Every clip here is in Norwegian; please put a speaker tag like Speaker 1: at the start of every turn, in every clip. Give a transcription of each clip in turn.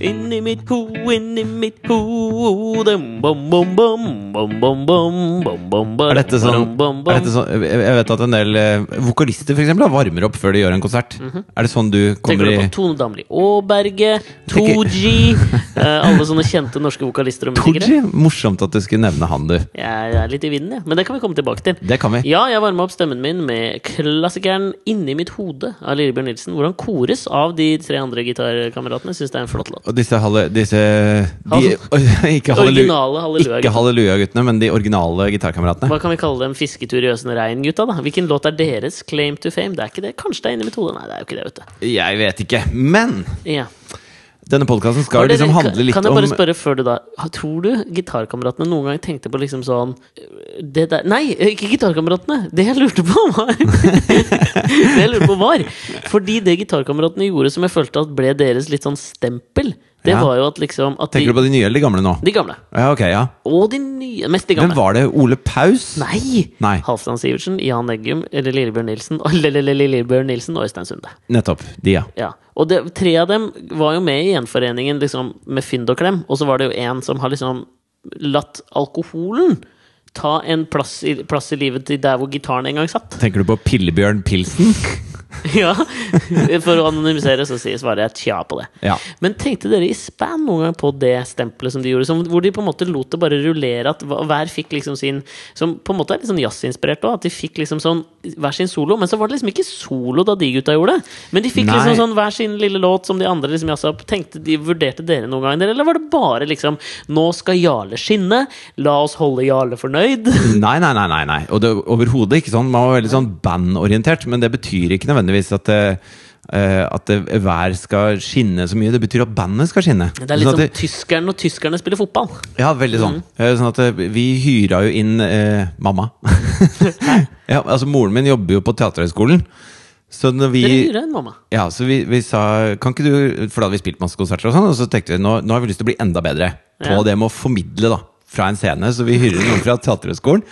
Speaker 1: Inni mitt ho, inni mitt hode bom, bom, bom, bom, bom, bom, bom, bom, bom,
Speaker 2: Er dette sånn,
Speaker 1: bom, bom,
Speaker 2: er dette sånn jeg- Jeg vet at en del eh, vokalister for eksempel, da, varmer opp før de gjør en konsert. Er det sånn du
Speaker 1: Mhm. Tenker
Speaker 2: kommer
Speaker 1: du
Speaker 2: i
Speaker 1: på Tone Damli Aaberge, Tooji eh, Alle sånne kjente norske vokalister og musikere?
Speaker 2: Tooji? Morsomt at du skulle nevne han, du.
Speaker 1: Jeg er litt i vinden, jeg. Men det kan vi komme tilbake til.
Speaker 2: Det kan vi.
Speaker 1: Ja, jeg varma opp stemmen min med klassikeren 'Inni mitt hode' av Lillebjørn Nilsen, hvor han kores av de tre andre gitarkameratene. Syns det er en flott låt.
Speaker 2: Og disse, halle, disse de, ikke, halleluja,
Speaker 1: Originale Halleluja.
Speaker 2: ikke
Speaker 1: gutter.
Speaker 2: Halleluja-guttene, men de originale gitarkameratene.
Speaker 1: Hva kan vi kalle dem? Fisketur i Øsen og Rein-gutta, da? Hvilken låt er deres claim to fame? Det er ikke det. Kanskje det er 'Inni mitt hode'? Nei, det er jo ikke det, vet du.
Speaker 2: Jeg vet ikke. Men
Speaker 1: Ja.
Speaker 2: denne podkasten
Speaker 1: Har
Speaker 2: skal
Speaker 1: dere-
Speaker 2: liksom handle
Speaker 1: kan-
Speaker 2: litt
Speaker 1: Kan jeg
Speaker 2: om
Speaker 1: bare spørre før du da ha- Tror du gitarkameratene noen gang tenkte på liksom sånn øh, det der, Nei, øh, ikke gitarkameratene! Det jeg lurte på, var Det jeg lurte på var Fordi det gitarkameratene gjorde som jeg følte at ble deres litt sånn stempel, det
Speaker 2: Ja.
Speaker 1: var jo at liksom at de,
Speaker 2: Tenker du på de nye eller de gamle nå?
Speaker 1: de gamle.
Speaker 2: Ja, ok, ja.
Speaker 1: Og de nye. Mest de
Speaker 2: Men
Speaker 1: gamle.
Speaker 2: var det Ole Paus?
Speaker 1: Nei!
Speaker 2: Nei.
Speaker 1: Halvdan Sivertsen, Jan Eggum, eller Lillebjørn Nilsen, og lille- Lillebjørn Nilsen og Øystein Sunde.
Speaker 2: Nettopp. De, ja.
Speaker 1: Ja, og det, tre av dem var jo med i gjenforeningen liksom, med fynd og klem, og så var det jo en som har liksom latt alkoholen ta en plass i, plass i livet til der hvor gitaren en gang satt.
Speaker 2: Tenker du på Pillebjørn Pilsen?
Speaker 1: Ja, For å anonymisere, så sier- svarer jeg tja på det.
Speaker 2: Ja.
Speaker 1: Men tenkte dere i span noen gang på det stempelet som de gjorde, som, hvor de på en måte lot det bare rullere, at hva- hver fikk liksom sin Som på en måte er litt sånn jazzinspirert òg, at de fikk liksom sånn hver sin solo. Men så var det liksom ikke solo da de gutta gjorde det. Men de fikk
Speaker 2: Nei.
Speaker 1: liksom sånn hver sin lille låt som de andre liksom jazza opp. Tenkte de, Vurderte dere noen gang det, eller var det bare liksom Nå skal Jarle skinne, la oss holde Jarle fornøyd.
Speaker 2: Nei, nei, nei. nei, nei. Og det er overhodet ikke sånn. Man var veldig sånn bandorientert, men det betyr ikke nødvendigvis at det, eh, at det hver skal skinne så mye. Det betyr at bandet skal skinne.
Speaker 1: Det er litt Mm.
Speaker 2: Sånn
Speaker 1: som
Speaker 2: at det-
Speaker 1: tyskeren og tyskerne spiller fotball.
Speaker 2: Ja, veldig sånn. Eh, Sånn at eh, vi hyra jo inn eh, mamma. ja, altså Moren min jobber jo på Teaterhøgskolen. Så når vi
Speaker 1: Dere hyrer en mamma.
Speaker 2: Ja, så vi, vi sa Kan ikke du For da hadde vi spilt masse konserter og sånn, og så tenkte vi nå, nå har vi lyst til å bli enda bedre på
Speaker 1: Ja.
Speaker 2: det med å formidle, da. Fra en scene. Så vi hyrer noen fra Teaterhøgskolen.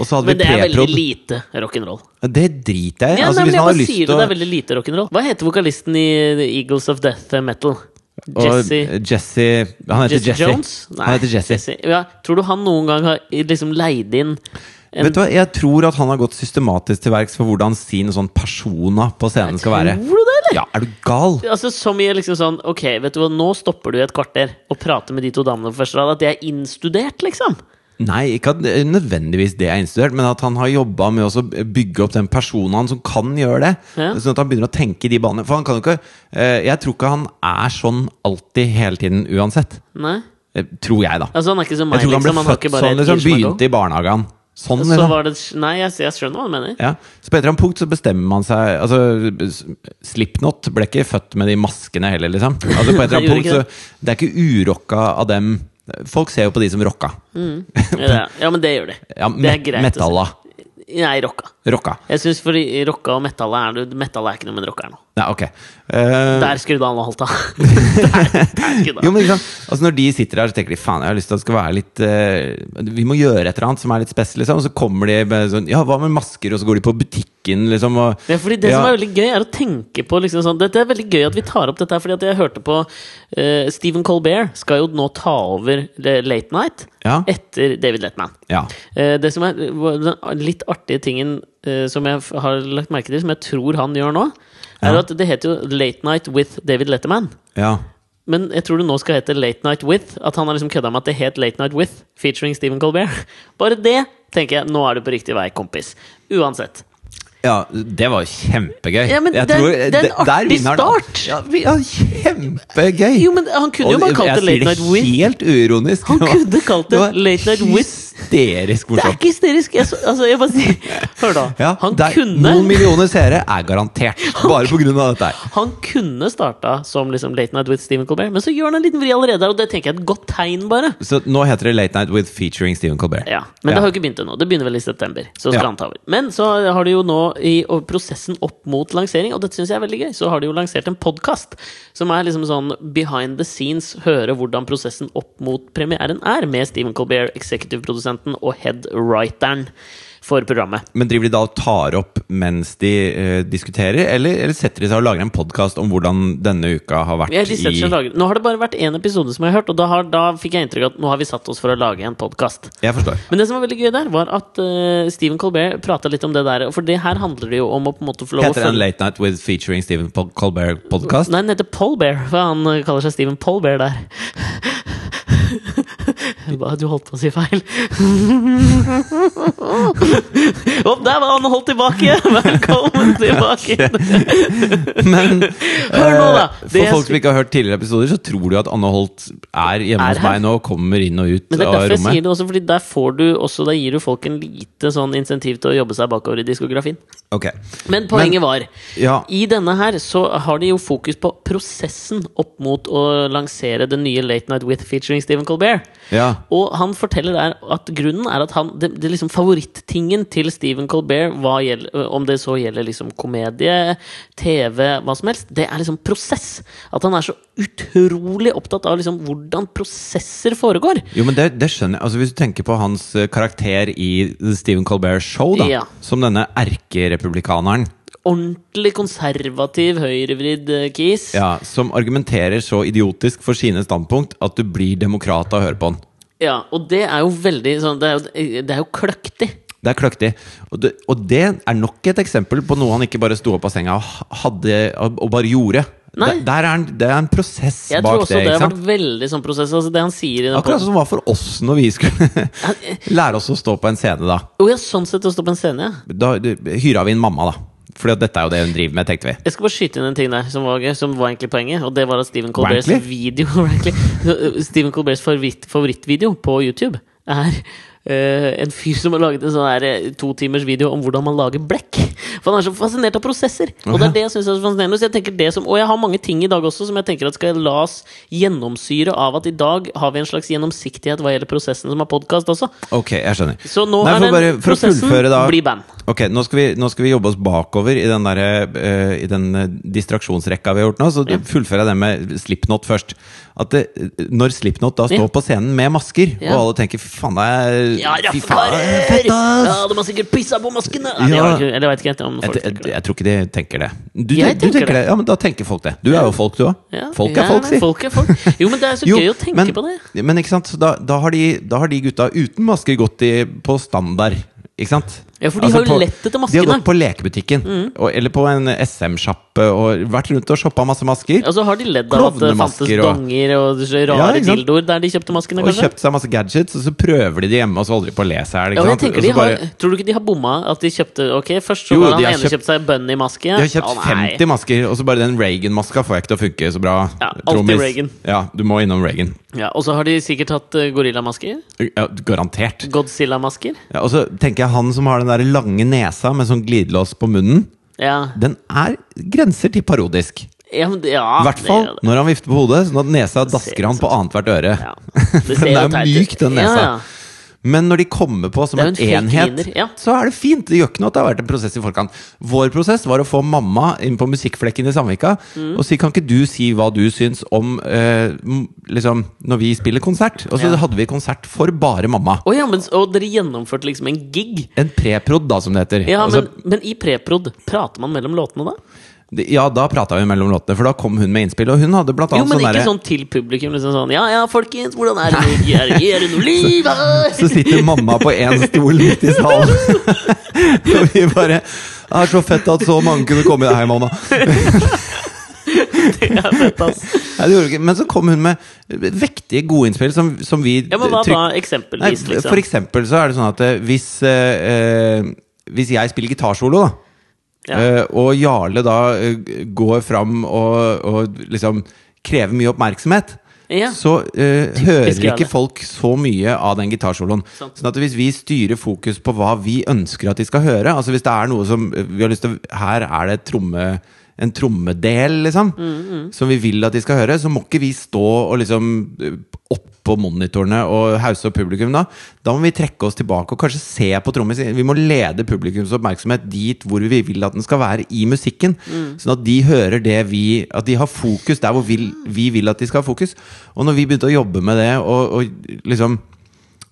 Speaker 2: Og så hadde
Speaker 1: Men det er
Speaker 2: vi
Speaker 1: veldig
Speaker 2: preprod.
Speaker 1: lite rock'n'roll.
Speaker 2: Det driter jeg i.
Speaker 1: Ja,
Speaker 2: altså,
Speaker 1: nei,
Speaker 2: hvis
Speaker 1: men jeg
Speaker 2: man har
Speaker 1: bare
Speaker 2: lyst
Speaker 1: sier det,
Speaker 2: til
Speaker 1: det
Speaker 2: å
Speaker 1: er veldig lite rock'n'roll. Hå Hva heter vokalisten i The Eagles of Death Metal?
Speaker 2: og
Speaker 1: Jesse
Speaker 2: Jesse Han heter
Speaker 1: Jesse
Speaker 2: Jesse.
Speaker 1: Jones?
Speaker 2: Han heter Jesse.
Speaker 1: Ja, tror du han noen gang har liksom leid inn en
Speaker 2: Vet du hva, Jeg tror at han har gått systematisk til verks for hvordan sin sånn persona på scenen skal være.
Speaker 1: Tror du det, eller?
Speaker 2: Ja, er du gal?
Speaker 1: Altså Som i liksom sånn Ok, vet du hva, nå stopper du i et kvarter og prater med de to damene på første rad. At det er innstudert, liksom.
Speaker 2: Nei, ikke at eh, nødvendigvis det er instudert, men at han har jobba med å så bygge opp den personen som kan gjøre det.
Speaker 1: Ja.
Speaker 2: Sånn at han begynner å tenke i de banene. For han kan jo ikke eh, Jeg tror ikke han er sånn alltid hele tiden uansett.
Speaker 1: Nei?
Speaker 2: Eh, Tror jeg, da.
Speaker 1: Altså Han er ikke som meg,
Speaker 2: Jeg tror han ble
Speaker 1: liksom. Han har
Speaker 2: født
Speaker 1: ikke bare
Speaker 2: sånn,
Speaker 1: et
Speaker 2: liksom.
Speaker 1: ears to go.
Speaker 2: Begynte i barnehagen. Sånn,
Speaker 1: Så
Speaker 2: liksom.
Speaker 1: var det Nei, jeg, jeg skjønner hva du mener.
Speaker 2: Ja. Så på et eller annet punkt så bestemmer man seg Altså, s- Slipknot ble ikke født med de maskene heller, liksom. Altså på et
Speaker 1: Nei,
Speaker 2: eller annet punkt
Speaker 1: gjorde ikke
Speaker 2: så Det er ikke urokka av dem. Folk ser jo på de som rocka.
Speaker 1: Ja, ja, men det gjør de.
Speaker 2: Ja,
Speaker 1: det er
Speaker 2: met-
Speaker 1: greit. å
Speaker 2: Metalla.
Speaker 1: si. Nei, rocka.
Speaker 2: Rocka.
Speaker 1: Jeg syns for i- i rocka og metalla er det Metalla er ikke noe, men rocka er noe.
Speaker 2: Nei, ok. Eh,
Speaker 1: Der skrudde han og halta. Der, der skrudde
Speaker 2: Jo,
Speaker 1: han.
Speaker 2: men ikke sant? Altså Når de sitter der, så tenker de faen, jeg har lyst til at det skal være litt eh, Vi må gjøre et eller annet som er litt spesielt, liksom. Og så kommer de med sånn Ja, hva med masker? Og så går de på butikken, liksom. Og,
Speaker 1: Ja, fordi Det
Speaker 2: Ja.
Speaker 1: som er veldig gøy, er å tenke på liksom sånn Det det er veldig gøy at vi tar opp dette her, fordi at jeg hørte på eh, Stephen Colbert skal jo nå ta over eh, Late Night
Speaker 2: Ja.
Speaker 1: etter David Letman.
Speaker 2: ja.
Speaker 1: Eh, Det som er Den litt artige tingen eh, som jeg f- har lagt merke til, som jeg tror han gjør nå, er
Speaker 2: Ja.
Speaker 1: at det heter jo Late Night with David Letterman.
Speaker 2: ja.
Speaker 1: Men jeg tror det nå skal hete Late Night With. At han har liksom kødda med at det het Late Night With featuring Stephen Colbert. Bare det tenker jeg, nå er du på riktig vei, kompis. Uansett.
Speaker 2: Ja, det var jo kjempegøy.
Speaker 1: Ja, men
Speaker 2: Jeg
Speaker 1: det er-
Speaker 2: tror-
Speaker 1: det er en
Speaker 2: der
Speaker 1: artig
Speaker 2: vinner den.
Speaker 1: start.
Speaker 2: Ja, vi- ja, kjempegøy!
Speaker 1: Jo, men han kunne jo
Speaker 2: Og
Speaker 1: bare kalt det Late
Speaker 2: Jeg
Speaker 1: Night
Speaker 2: sier det
Speaker 1: With.
Speaker 2: helt uironisk.
Speaker 1: Han
Speaker 2: Det var-
Speaker 1: kunne kalt det
Speaker 2: var
Speaker 1: Late Night With.
Speaker 2: Hysterisk
Speaker 1: Det er
Speaker 2: morsomt.
Speaker 1: ikke hysterisk! Jeg, så- altså, jeg bare sier Hør, da.
Speaker 2: Ja,
Speaker 1: han,
Speaker 2: det er- Noen
Speaker 1: kunne,
Speaker 2: millioner seere er garantert, bare på grunn av dette her.
Speaker 1: han kunne starta som liksom Late Night With Stephen Colbert, men så gjør han en liten vri allerede der, og det tenker jeg er et godt tegn, bare.
Speaker 2: Så nå heter det Late Night with featuring Stephen Colbert.
Speaker 1: Ja, Men
Speaker 2: Ja.
Speaker 1: det har jo ikke begynt ennå. Det begynner vel i september. Så skal
Speaker 2: Ja.
Speaker 1: han ta over. Men så har de jo nå, i og prosessen opp mot lansering, og dette syns jeg er veldig gøy, så har de jo lansert en podkast som er liksom sånn behind the scenes, høre hvordan prosessen opp mot premieren er, med Stephen Colbert, eksekutivprodusenten og head writeren. for programmet.
Speaker 2: Men driver de da og tar opp mens de eh, diskuterer, eller, eller setter de seg og lager en podkast om hvordan denne uka har vært
Speaker 1: Ja, de setter seg og
Speaker 2: i
Speaker 1: lager. Nå har det bare vært én episode som jeg har hørt, og da, har, da fikk jeg inntrykk av at nå har vi satt oss for å lage en podkast.
Speaker 2: Jeg forstår.
Speaker 1: Men det som var veldig gøy der, var at eh, Stephen Colbert prata litt om det der. For det her handler det jo om å på en måte få lov å
Speaker 2: Heter den Late Night with featuring Stephen Pol- Colbert podcast?
Speaker 1: Nei, den heter Polbear. For han eh, kaller seg Stephen Polbear der. Hva, Du holdt på å si feil. Opp der var han holdt tilbake! Velkommen tilbake!
Speaker 2: Men
Speaker 1: Hør nå, da! Det
Speaker 2: eh, for folk
Speaker 1: jeg
Speaker 2: som ikke har hørt tidligere episoder, så tror du at Anne Holt er hjemme
Speaker 1: Er
Speaker 2: hos
Speaker 1: her.
Speaker 2: meg nå og kommer inn og ut
Speaker 1: Men det er
Speaker 2: av
Speaker 1: derfor jeg sier
Speaker 2: rommet.
Speaker 1: det også, fordi der får du også, der gir du folk en lite sånn insentiv til å jobbe seg bakover i diskografien.
Speaker 2: Ok.
Speaker 1: Men poenget var
Speaker 2: Ja,
Speaker 1: I denne her så har de jo fokus på prosessen opp mot å lansere den nye Late Night With featuring Stephen Colbert.
Speaker 2: ja.
Speaker 1: Og han forteller der at grunnen er at han Det, det liksom favorittingen til Stephen Colbert, hva gjel- om det så gjelder liksom komedie, TV, hva som helst, det er liksom prosess. At han er så utrolig opptatt av liksom hvordan prosesser foregår.
Speaker 2: Jo, men det, det skjønner jeg. Altså, hvis du tenker på hans eh, karakter i The Stephen Colbert Show, da,
Speaker 1: Ja. som
Speaker 2: denne erkerepublikaneren,
Speaker 1: Ordentlig konservativ, høyrevridd eh, kis.
Speaker 2: ja, som argumenterer så idiotisk for sine standpunkt at du blir demokrat av å høre på han.
Speaker 1: Ja, og det er jo veldig sånn Det er jo, det er jo kløktig.
Speaker 2: Det er kløktig. Og det, og det er nok et eksempel på noe han ikke bare sto opp av senga og, hadde, og bare gjorde.
Speaker 1: Nei.
Speaker 2: Det, der er, en- det er en prosess
Speaker 1: Jeg tror
Speaker 2: bak
Speaker 1: også det,
Speaker 2: det. ikke
Speaker 1: har
Speaker 2: sant?
Speaker 1: vært veldig sånn prosess. Altså det han sier i den
Speaker 2: Akkurat
Speaker 1: podden-
Speaker 2: som det var for oss når vi skulle lære oss å stå på en scene, da.
Speaker 1: Å ja, sånn sett å stå på en scene, ja.
Speaker 2: Da du- hyra vi inn mamma, da. For dette er jo det hun driver med, tenkte vi.
Speaker 1: Jeg skal bare skyte inn en ting der som var gøy, som var egentlig poenget. Og det var at Stephen Colberts
Speaker 2: Wankley?
Speaker 1: video Wankley. uh, Stephen Colberts favoritt, favorittvideo på YouTube er eh, en fyr som har laget en sånn her eh, to timers video om hvordan man lager blekk. For han er så fascinert av prosesser. Og det er det jeg synes er så fascinerende. Så jeg tenker det som, og jeg har mange ting i dag også som jeg tenker at skal la oss gjennomsyre av at i dag har vi en slags gjennomsiktighet hva gjelder prosessen som er podkast også.
Speaker 2: Ok, jeg skjønner.
Speaker 1: Så nå
Speaker 2: Nei,
Speaker 1: er
Speaker 2: for
Speaker 1: den
Speaker 2: bare- for å
Speaker 1: prosessen
Speaker 2: fullføre da-
Speaker 1: bli band.
Speaker 2: Ok, nå skal, vi, nå skal vi jobbe oss bakover i den, der, eh, i den eh, distraksjonsrekka vi har gjort nå. Så fullfører jeg det med Slipknot først. At det, når Slipknot da står
Speaker 1: Ja.
Speaker 2: på scenen med masker,
Speaker 1: Ja.
Speaker 2: og alle tenker 'fy faen, det er
Speaker 1: Ja,
Speaker 2: fy faen, det er
Speaker 1: raffekarer!
Speaker 2: fett, ass!»
Speaker 1: Ja, de har sikkert pissa på maskene! Ja, det
Speaker 2: Ja.
Speaker 1: var ikke- Eller jeg vet ikke om
Speaker 2: jeg,
Speaker 1: folk
Speaker 2: jeg,
Speaker 1: tenker det.
Speaker 2: jeg tror ikke de tenker det. Du,
Speaker 1: Jeg
Speaker 2: tenker, du
Speaker 1: tenker
Speaker 2: tenker det. Ja, men da tenker folk det. Du er jo folk, du òg.
Speaker 1: Ja,
Speaker 2: Folk
Speaker 1: ja,
Speaker 2: er folk,
Speaker 1: nei,
Speaker 2: si.
Speaker 1: Folk er folk. Jo, men det er så
Speaker 2: Jo,
Speaker 1: gøy å tenke
Speaker 2: men-
Speaker 1: på det.
Speaker 2: Men ikke sant, så da, da, har de, da har de gutta uten masker gått i, på standard. Ikke sant? Altså
Speaker 1: Ja, for de har jo lett etter
Speaker 2: De har
Speaker 1: maskene. Mm.
Speaker 2: gått på lekebutikken, og, eller på en SM-sjappe, og vært rundt og shoppa masse masker.
Speaker 1: Og så Altså, har de ledd av at det fantes
Speaker 2: Klovnemasker og-
Speaker 1: donger og så
Speaker 2: Ja,
Speaker 1: rare
Speaker 2: ikke sant?
Speaker 1: dildoer der de kjøpte maskene,
Speaker 2: Og
Speaker 1: kanskje.
Speaker 2: kjøpt seg masse gadgets, og så prøver de det hjemme, og så holder de på å le seg i
Speaker 1: ja,
Speaker 2: hjel.
Speaker 1: men jeg
Speaker 2: ikke sant?
Speaker 1: tenker
Speaker 2: Og
Speaker 1: de
Speaker 2: så
Speaker 1: har,
Speaker 2: bare-
Speaker 1: tror du ikke de har bomma? At de kjøpte Ok, først så
Speaker 2: Jo,
Speaker 1: var
Speaker 2: de
Speaker 1: han
Speaker 2: har
Speaker 1: ene
Speaker 2: kjøpt-
Speaker 1: kjøpt seg bunny-maske.
Speaker 2: De har
Speaker 1: Å,
Speaker 2: kjøpt
Speaker 1: nei.
Speaker 2: 50 masker, og så bare den Reagan-maska får jeg ikke til å funke så bra.
Speaker 1: Ja, alltid
Speaker 2: trommis.
Speaker 1: Reagan.
Speaker 2: Ja, du må innom Reagan.
Speaker 1: Ja, og så har de sikkert hatt eh, gorillamasker.
Speaker 2: Ja, garantert.
Speaker 1: Godzilla-masker.
Speaker 2: Ja, og så tenker jeg han som har den der lange nesa med sånn glidelås på munnen,
Speaker 1: Ja.
Speaker 2: den er grenser til parodisk.
Speaker 1: ja, men det- ja
Speaker 2: I hvert
Speaker 1: det-
Speaker 2: fall når han vifter på hodet, sånn at nesa dasker han på annethvert øre.
Speaker 1: ja. Det ser
Speaker 2: Den
Speaker 1: jo
Speaker 2: er
Speaker 1: teit
Speaker 2: myk,
Speaker 1: ut.
Speaker 2: den nesa.
Speaker 1: Ja, ja.
Speaker 2: Men når de kommer på som
Speaker 1: Det er
Speaker 2: en
Speaker 1: jo en fake
Speaker 2: enhet,
Speaker 1: griner, ja.
Speaker 2: så er det fint. Det gjør ikke noe at det har vært en prosess i forkant. Vår prosess var å få mamma inn på musikkflekken i Sandvika
Speaker 1: Mm.
Speaker 2: og si kan ikke du si hva du syns om eh, m- liksom, når vi spiller konsert? Og så
Speaker 1: Ja.
Speaker 2: hadde vi konsert for bare mamma.
Speaker 1: Å ja, men, s- og dere gjennomførte liksom en gig?
Speaker 2: En preprod, da, som det heter.
Speaker 1: Ja,
Speaker 2: Altså,
Speaker 1: men, men i preprod, prater man mellom låtene da?
Speaker 2: det- ja da prata vi mellom låtene, for da kom hun med innspill. Og hun hadde blant
Speaker 1: Jo,
Speaker 2: annet
Speaker 1: men
Speaker 2: sånn
Speaker 1: ikke
Speaker 2: derre
Speaker 1: sånn til publikum. Liksom sånn Ja ja, folkens, hvordan er det med Er det- er det noe liv
Speaker 2: Så
Speaker 1: her?
Speaker 2: sitter mamma på én stol midt i salen. Og vi bare Det er så fett at så mange kunne komme inn. Hei, mamma.
Speaker 1: Det er fett, ass.
Speaker 2: Nei, det gjorde du ikke. Men så kom hun med vektige gode innspill som, som vi
Speaker 1: Ja, men hva
Speaker 2: tryk-
Speaker 1: da,
Speaker 2: Nei,
Speaker 1: eksempelvis?
Speaker 2: For
Speaker 1: Liksom?
Speaker 2: eksempel så er det sånn at eh, hvis eh, eh, Hvis jeg spiller gitarsolo, da,
Speaker 1: Ja.
Speaker 2: eh, og Jarle da eh, går fram og, og liksom krever mye oppmerksomhet
Speaker 1: Ja.
Speaker 2: Så eh, hører
Speaker 1: Jarle.
Speaker 2: ikke folk så mye av den gitarsoloen.
Speaker 1: Sant.
Speaker 2: Sånn at hvis vi styrer fokus på hva vi ønsker at de skal høre Altså hvis det er noe som eh, vi har lyst til å- Her er det et tromme, en trommedel, liksom,
Speaker 1: Mm,
Speaker 2: som vi vil at de skal høre, så må ikke vi stå og liksom eh, oppå monitorene og hause opp publikum da. Da må vi trekke oss tilbake og kanskje se på trommis. Vi må lede publikums oppmerksomhet dit hvor vi vil at den skal være i musikken. Sånn at de hører det vi At de har fokus der hvor vi, vi vil at de skal ha fokus. Og når vi begynte å jobbe med det og, og liksom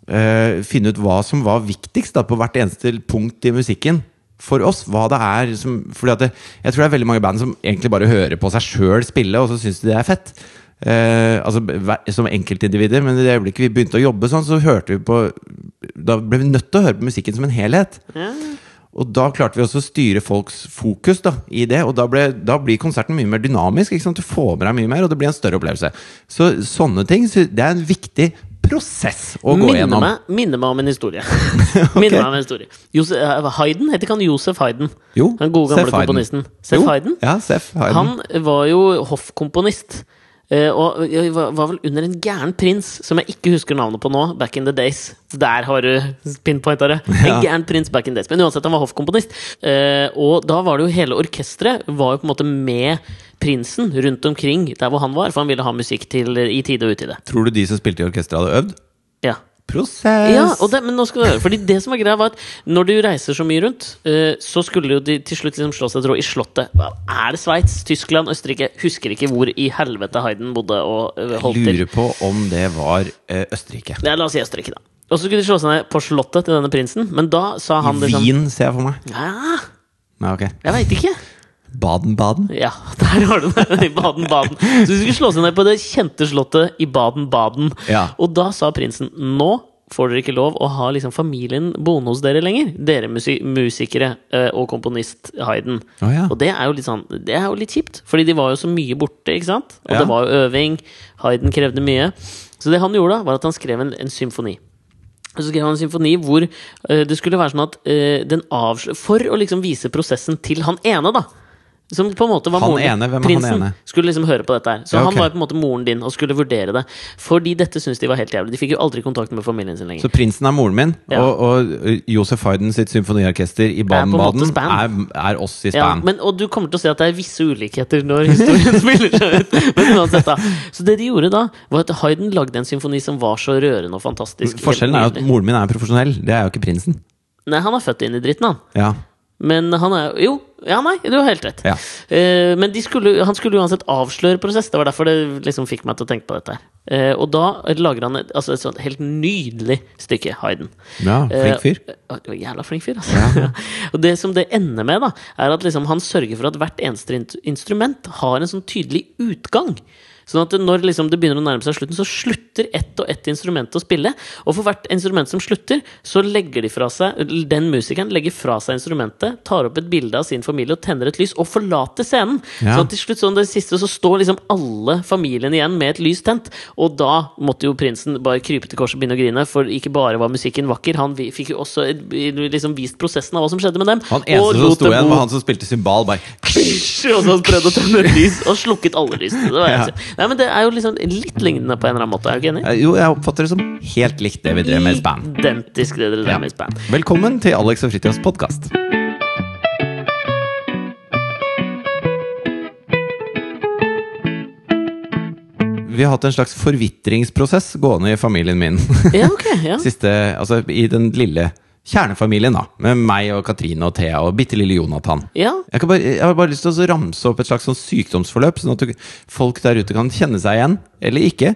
Speaker 2: eh, finne ut hva som var viktigst da, på hvert eneste punkt i musikken for oss. Hva det er som Fordi at det, jeg tror det er veldig mange band som egentlig bare hører på seg sjøl spille, og så syns de det er fett. Eh, altså hver- Som enkeltindivider, men i det øyeblikket vi begynte å jobbe sånn, så hørte vi på Da ble vi nødt til å høre på musikken som en helhet. Og da klarte vi også å styre folks fokus da, i det, og da, ble, da blir konserten mye mer dynamisk. Ikke sant? Du får med deg mye mer, og det blir en større opplevelse. Så sånne ting, så det er en viktig prosess å gå
Speaker 1: Minner
Speaker 2: gjennom.
Speaker 1: meg, minner meg om en historie. Minner meg om en historie Josef, eh, Haydn heter ikke han Josef Haydn?
Speaker 2: Jo,
Speaker 1: Den gode gamle
Speaker 2: Seth Hayden.
Speaker 1: komponisten. Seth
Speaker 2: Jo,
Speaker 1: Haydn?
Speaker 2: Ja, Seth Hayden.
Speaker 1: Han var jo hoffkomponist. eh, Og jeg var var vel under en gæren prins, som jeg ikke husker navnet på nå. Back in the days. Der har du pinpointa det. En
Speaker 2: Ja.
Speaker 1: gæren prins back in the days. Men uansett, han var hoffkomponist. Eh, Og da var det jo hele orkesteret var jo på en måte med prinsen rundt omkring der hvor han var, for han ville ha musikk til i tide og utide.
Speaker 2: Tror du de som spilte i orkesteret, hadde øvd?
Speaker 1: Ja.
Speaker 2: Prosess!
Speaker 1: Ja, og det, men nå skal du høre. Fordi det som var greia, var at når du reiser så mye rundt, eh, så skulle jo de til slutt liksom slå seg til ro i Slottet. Hva Er det Sveits, Tyskland, Østerrike? Husker ikke hvor i helvete Hayden bodde og eh, holdt til.
Speaker 2: Lurer på om det var eh, Østerrike.
Speaker 1: Ja, la oss si Østerrike, da. Og så skulle de slå seg ned på Slottet til denne prinsen, men da sa han liksom
Speaker 2: Wien, ser jeg for meg.
Speaker 1: Ja,
Speaker 2: Ja, ok.
Speaker 1: jeg veit ikke.
Speaker 2: Baden-Baden.
Speaker 1: Ja, der har du det! I Baden-Baden. Så de skulle slå seg ned på det kjente slottet i Baden-Baden.
Speaker 2: Ja.
Speaker 1: Og da sa prinsen nå får dere ikke lov å ha liksom familien boende hos dere lenger. Dere musi musikere eh, og komponist Hayden.
Speaker 2: Å, ja.
Speaker 1: Og det er, jo litt sånn, det er jo litt kjipt, fordi de var jo så mye borte, ikke sant? Og
Speaker 2: Ja.
Speaker 1: det var jo øving. Hayden krevde mye. Så det han gjorde da, var at han skrev en, en symfoni. Og så skrev han en symfoni hvor eh, det skulle være sånn at eh, den avslø... For å liksom vise prosessen til han ene, da. Som på en måte var
Speaker 2: Han
Speaker 1: moren din.
Speaker 2: ene? Hvem er han
Speaker 1: Prinsen
Speaker 2: ene?
Speaker 1: skulle liksom høre på dette her. Så
Speaker 2: Ja, ok.
Speaker 1: han var jo på en måte moren din og skulle vurdere det. Fordi dette syntes de var helt jævlig. De fikk jo aldri kontakt med familien sin lenger.
Speaker 2: Så Prinsen er moren min,
Speaker 1: Ja.
Speaker 2: og, og Josef Hayden sitt symfoniorkester i
Speaker 1: på en måte
Speaker 2: Baden-Baden er,
Speaker 1: span.
Speaker 2: er oss i
Speaker 1: Ja,
Speaker 2: span.
Speaker 1: men, og du kommer til å se at det er visse ulikheter når historien spiller seg ut. Men uansett da Så det de gjorde da, var at Hayden lagde en symfoni som var så rørende og fantastisk. Helt
Speaker 2: Forskjellen er jo at
Speaker 1: nydelig.
Speaker 2: moren min er profesjonell. Det er jo ikke prinsen.
Speaker 1: Nei, han er født inn i dritten, han.
Speaker 2: Ja.
Speaker 1: Men han er jo Ja, nei, du har helt rett.
Speaker 2: Ja.
Speaker 1: Eh, men de skulle, han skulle uansett avsløre prosess. Det var derfor det liksom fikk meg til å tenke på dette. her. Eh, og da lager han et, altså et sånt helt nydelig stykke, Hayden.
Speaker 2: ja flink fyr.
Speaker 1: Eh, å, det var en jævla flink fyr, altså. og det som det ender med, da, er at liksom han sørger for at hvert eneste in- instrument har en sånn tydelig utgang. Sånn at det- når liksom det begynner å nærme seg slutten, så slutter ett og ett instrument å spille. Og for hvert instrument som slutter, så legger de fra seg den musikeren legger fra seg instrumentet, tar opp et bilde av sin familie og tenner et lys, og forlater scenen.
Speaker 2: Ja.
Speaker 1: Sånn at til slutt, sånn det siste, så står liksom alle familien igjen med et lys tent. Og da måtte jo prinsen bare krype til korset og begynne å grine, for ikke bare var musikken vakker, han vi- fikk jo også eh, liksom vist prosessen av hva som skjedde med dem.
Speaker 2: Han eneste som
Speaker 1: lot
Speaker 2: sto
Speaker 1: dem
Speaker 2: igjen,
Speaker 1: bo-
Speaker 2: var han som spilte cymbal. Bare
Speaker 1: og så prøvde å tenne et lys, og slukket alle lysene. Det, var helt sykt. Nei, men det er jo liksom litt lignende på en eller annen måte, er du ikke enig?
Speaker 2: Eh, Jo, jeg oppfatter det som helt likt det vi drev med i span.
Speaker 1: Identisk det dere drev med i span.
Speaker 2: Velkommen til Alex og Fritjofs podkast. Vi har hatt en slags forvitringsprosess gående i familien min.
Speaker 1: Ja, ok. Ja.
Speaker 2: Siste, altså I den lille kjernefamilien, da. Med meg og Katrine og Thea og bitte lille Jonathan.
Speaker 1: ja.
Speaker 2: Jeg, kan bare, jeg har bare lyst til å ramse opp et slags sånn sykdomsforløp, sånn at du, folk der ute kan kjenne seg igjen, eller ikke,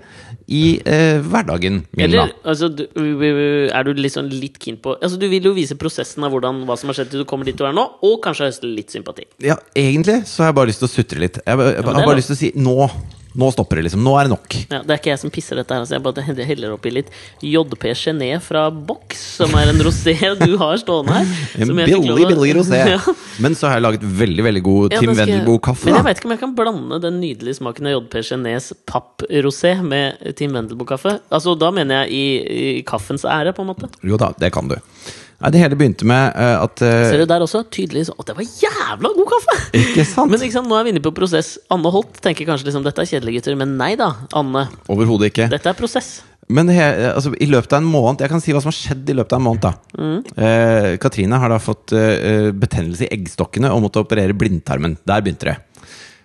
Speaker 2: i eh, hverdagen min.
Speaker 1: Eller,
Speaker 2: da.
Speaker 1: altså, du, er du liksom litt keen på Altså, Du vil jo vise prosessen av hvordan, hva som har skjedd til du kommer dit du er nå, og kanskje høste litt sympati.
Speaker 2: Ja, egentlig så har jeg bare lyst til å sutre litt. Jeg, bare- jeg,
Speaker 1: men
Speaker 2: har
Speaker 1: det er
Speaker 2: bare lyst til å si nå, nå stopper det, liksom. Nå er det nok.
Speaker 1: Ja, Det er ikke jeg som pisser dette her, altså. jeg bare heller- heller oppi litt JP Gené fra Box, som er en rosé du har stående her.
Speaker 2: En
Speaker 1: som jeg fikk lov
Speaker 2: billig,
Speaker 1: å-
Speaker 2: billig rosé.
Speaker 1: Ja.
Speaker 2: Men så har jeg laget veldig, veldig god
Speaker 1: Ja,
Speaker 2: Tim
Speaker 1: den skal jeg-
Speaker 2: Wendelboe-kaffe.
Speaker 1: Men jeg
Speaker 2: da.
Speaker 1: vet ikke om jeg kan blande den nydelige smaken av JP Genés papprosé med Tim Wendelboe-kaffe. Altså, da mener jeg i, i kaffens ære, på en måte.
Speaker 2: Jo da, det kan du. Nei, det hele begynte med eh, at eh,
Speaker 1: Ser du der også? Tydelig så- Å, det var jævla god kaffe!
Speaker 2: Ikke sant?
Speaker 1: Men ikke sant, nå er vi inne på prosess. Anne Holt tenker kanskje liksom, dette er kjedelig, gutter. Men nei da, Anne.
Speaker 2: Overhodet ikke.
Speaker 1: Dette er prosess.
Speaker 2: Men he, altså, i løpet av en måned Jeg kan si hva som har skjedd i løpet av en måned. da eh, Katrine har da fått eh, betennelse i eggstokkene og måtte operere blindtarmen. Der begynte det.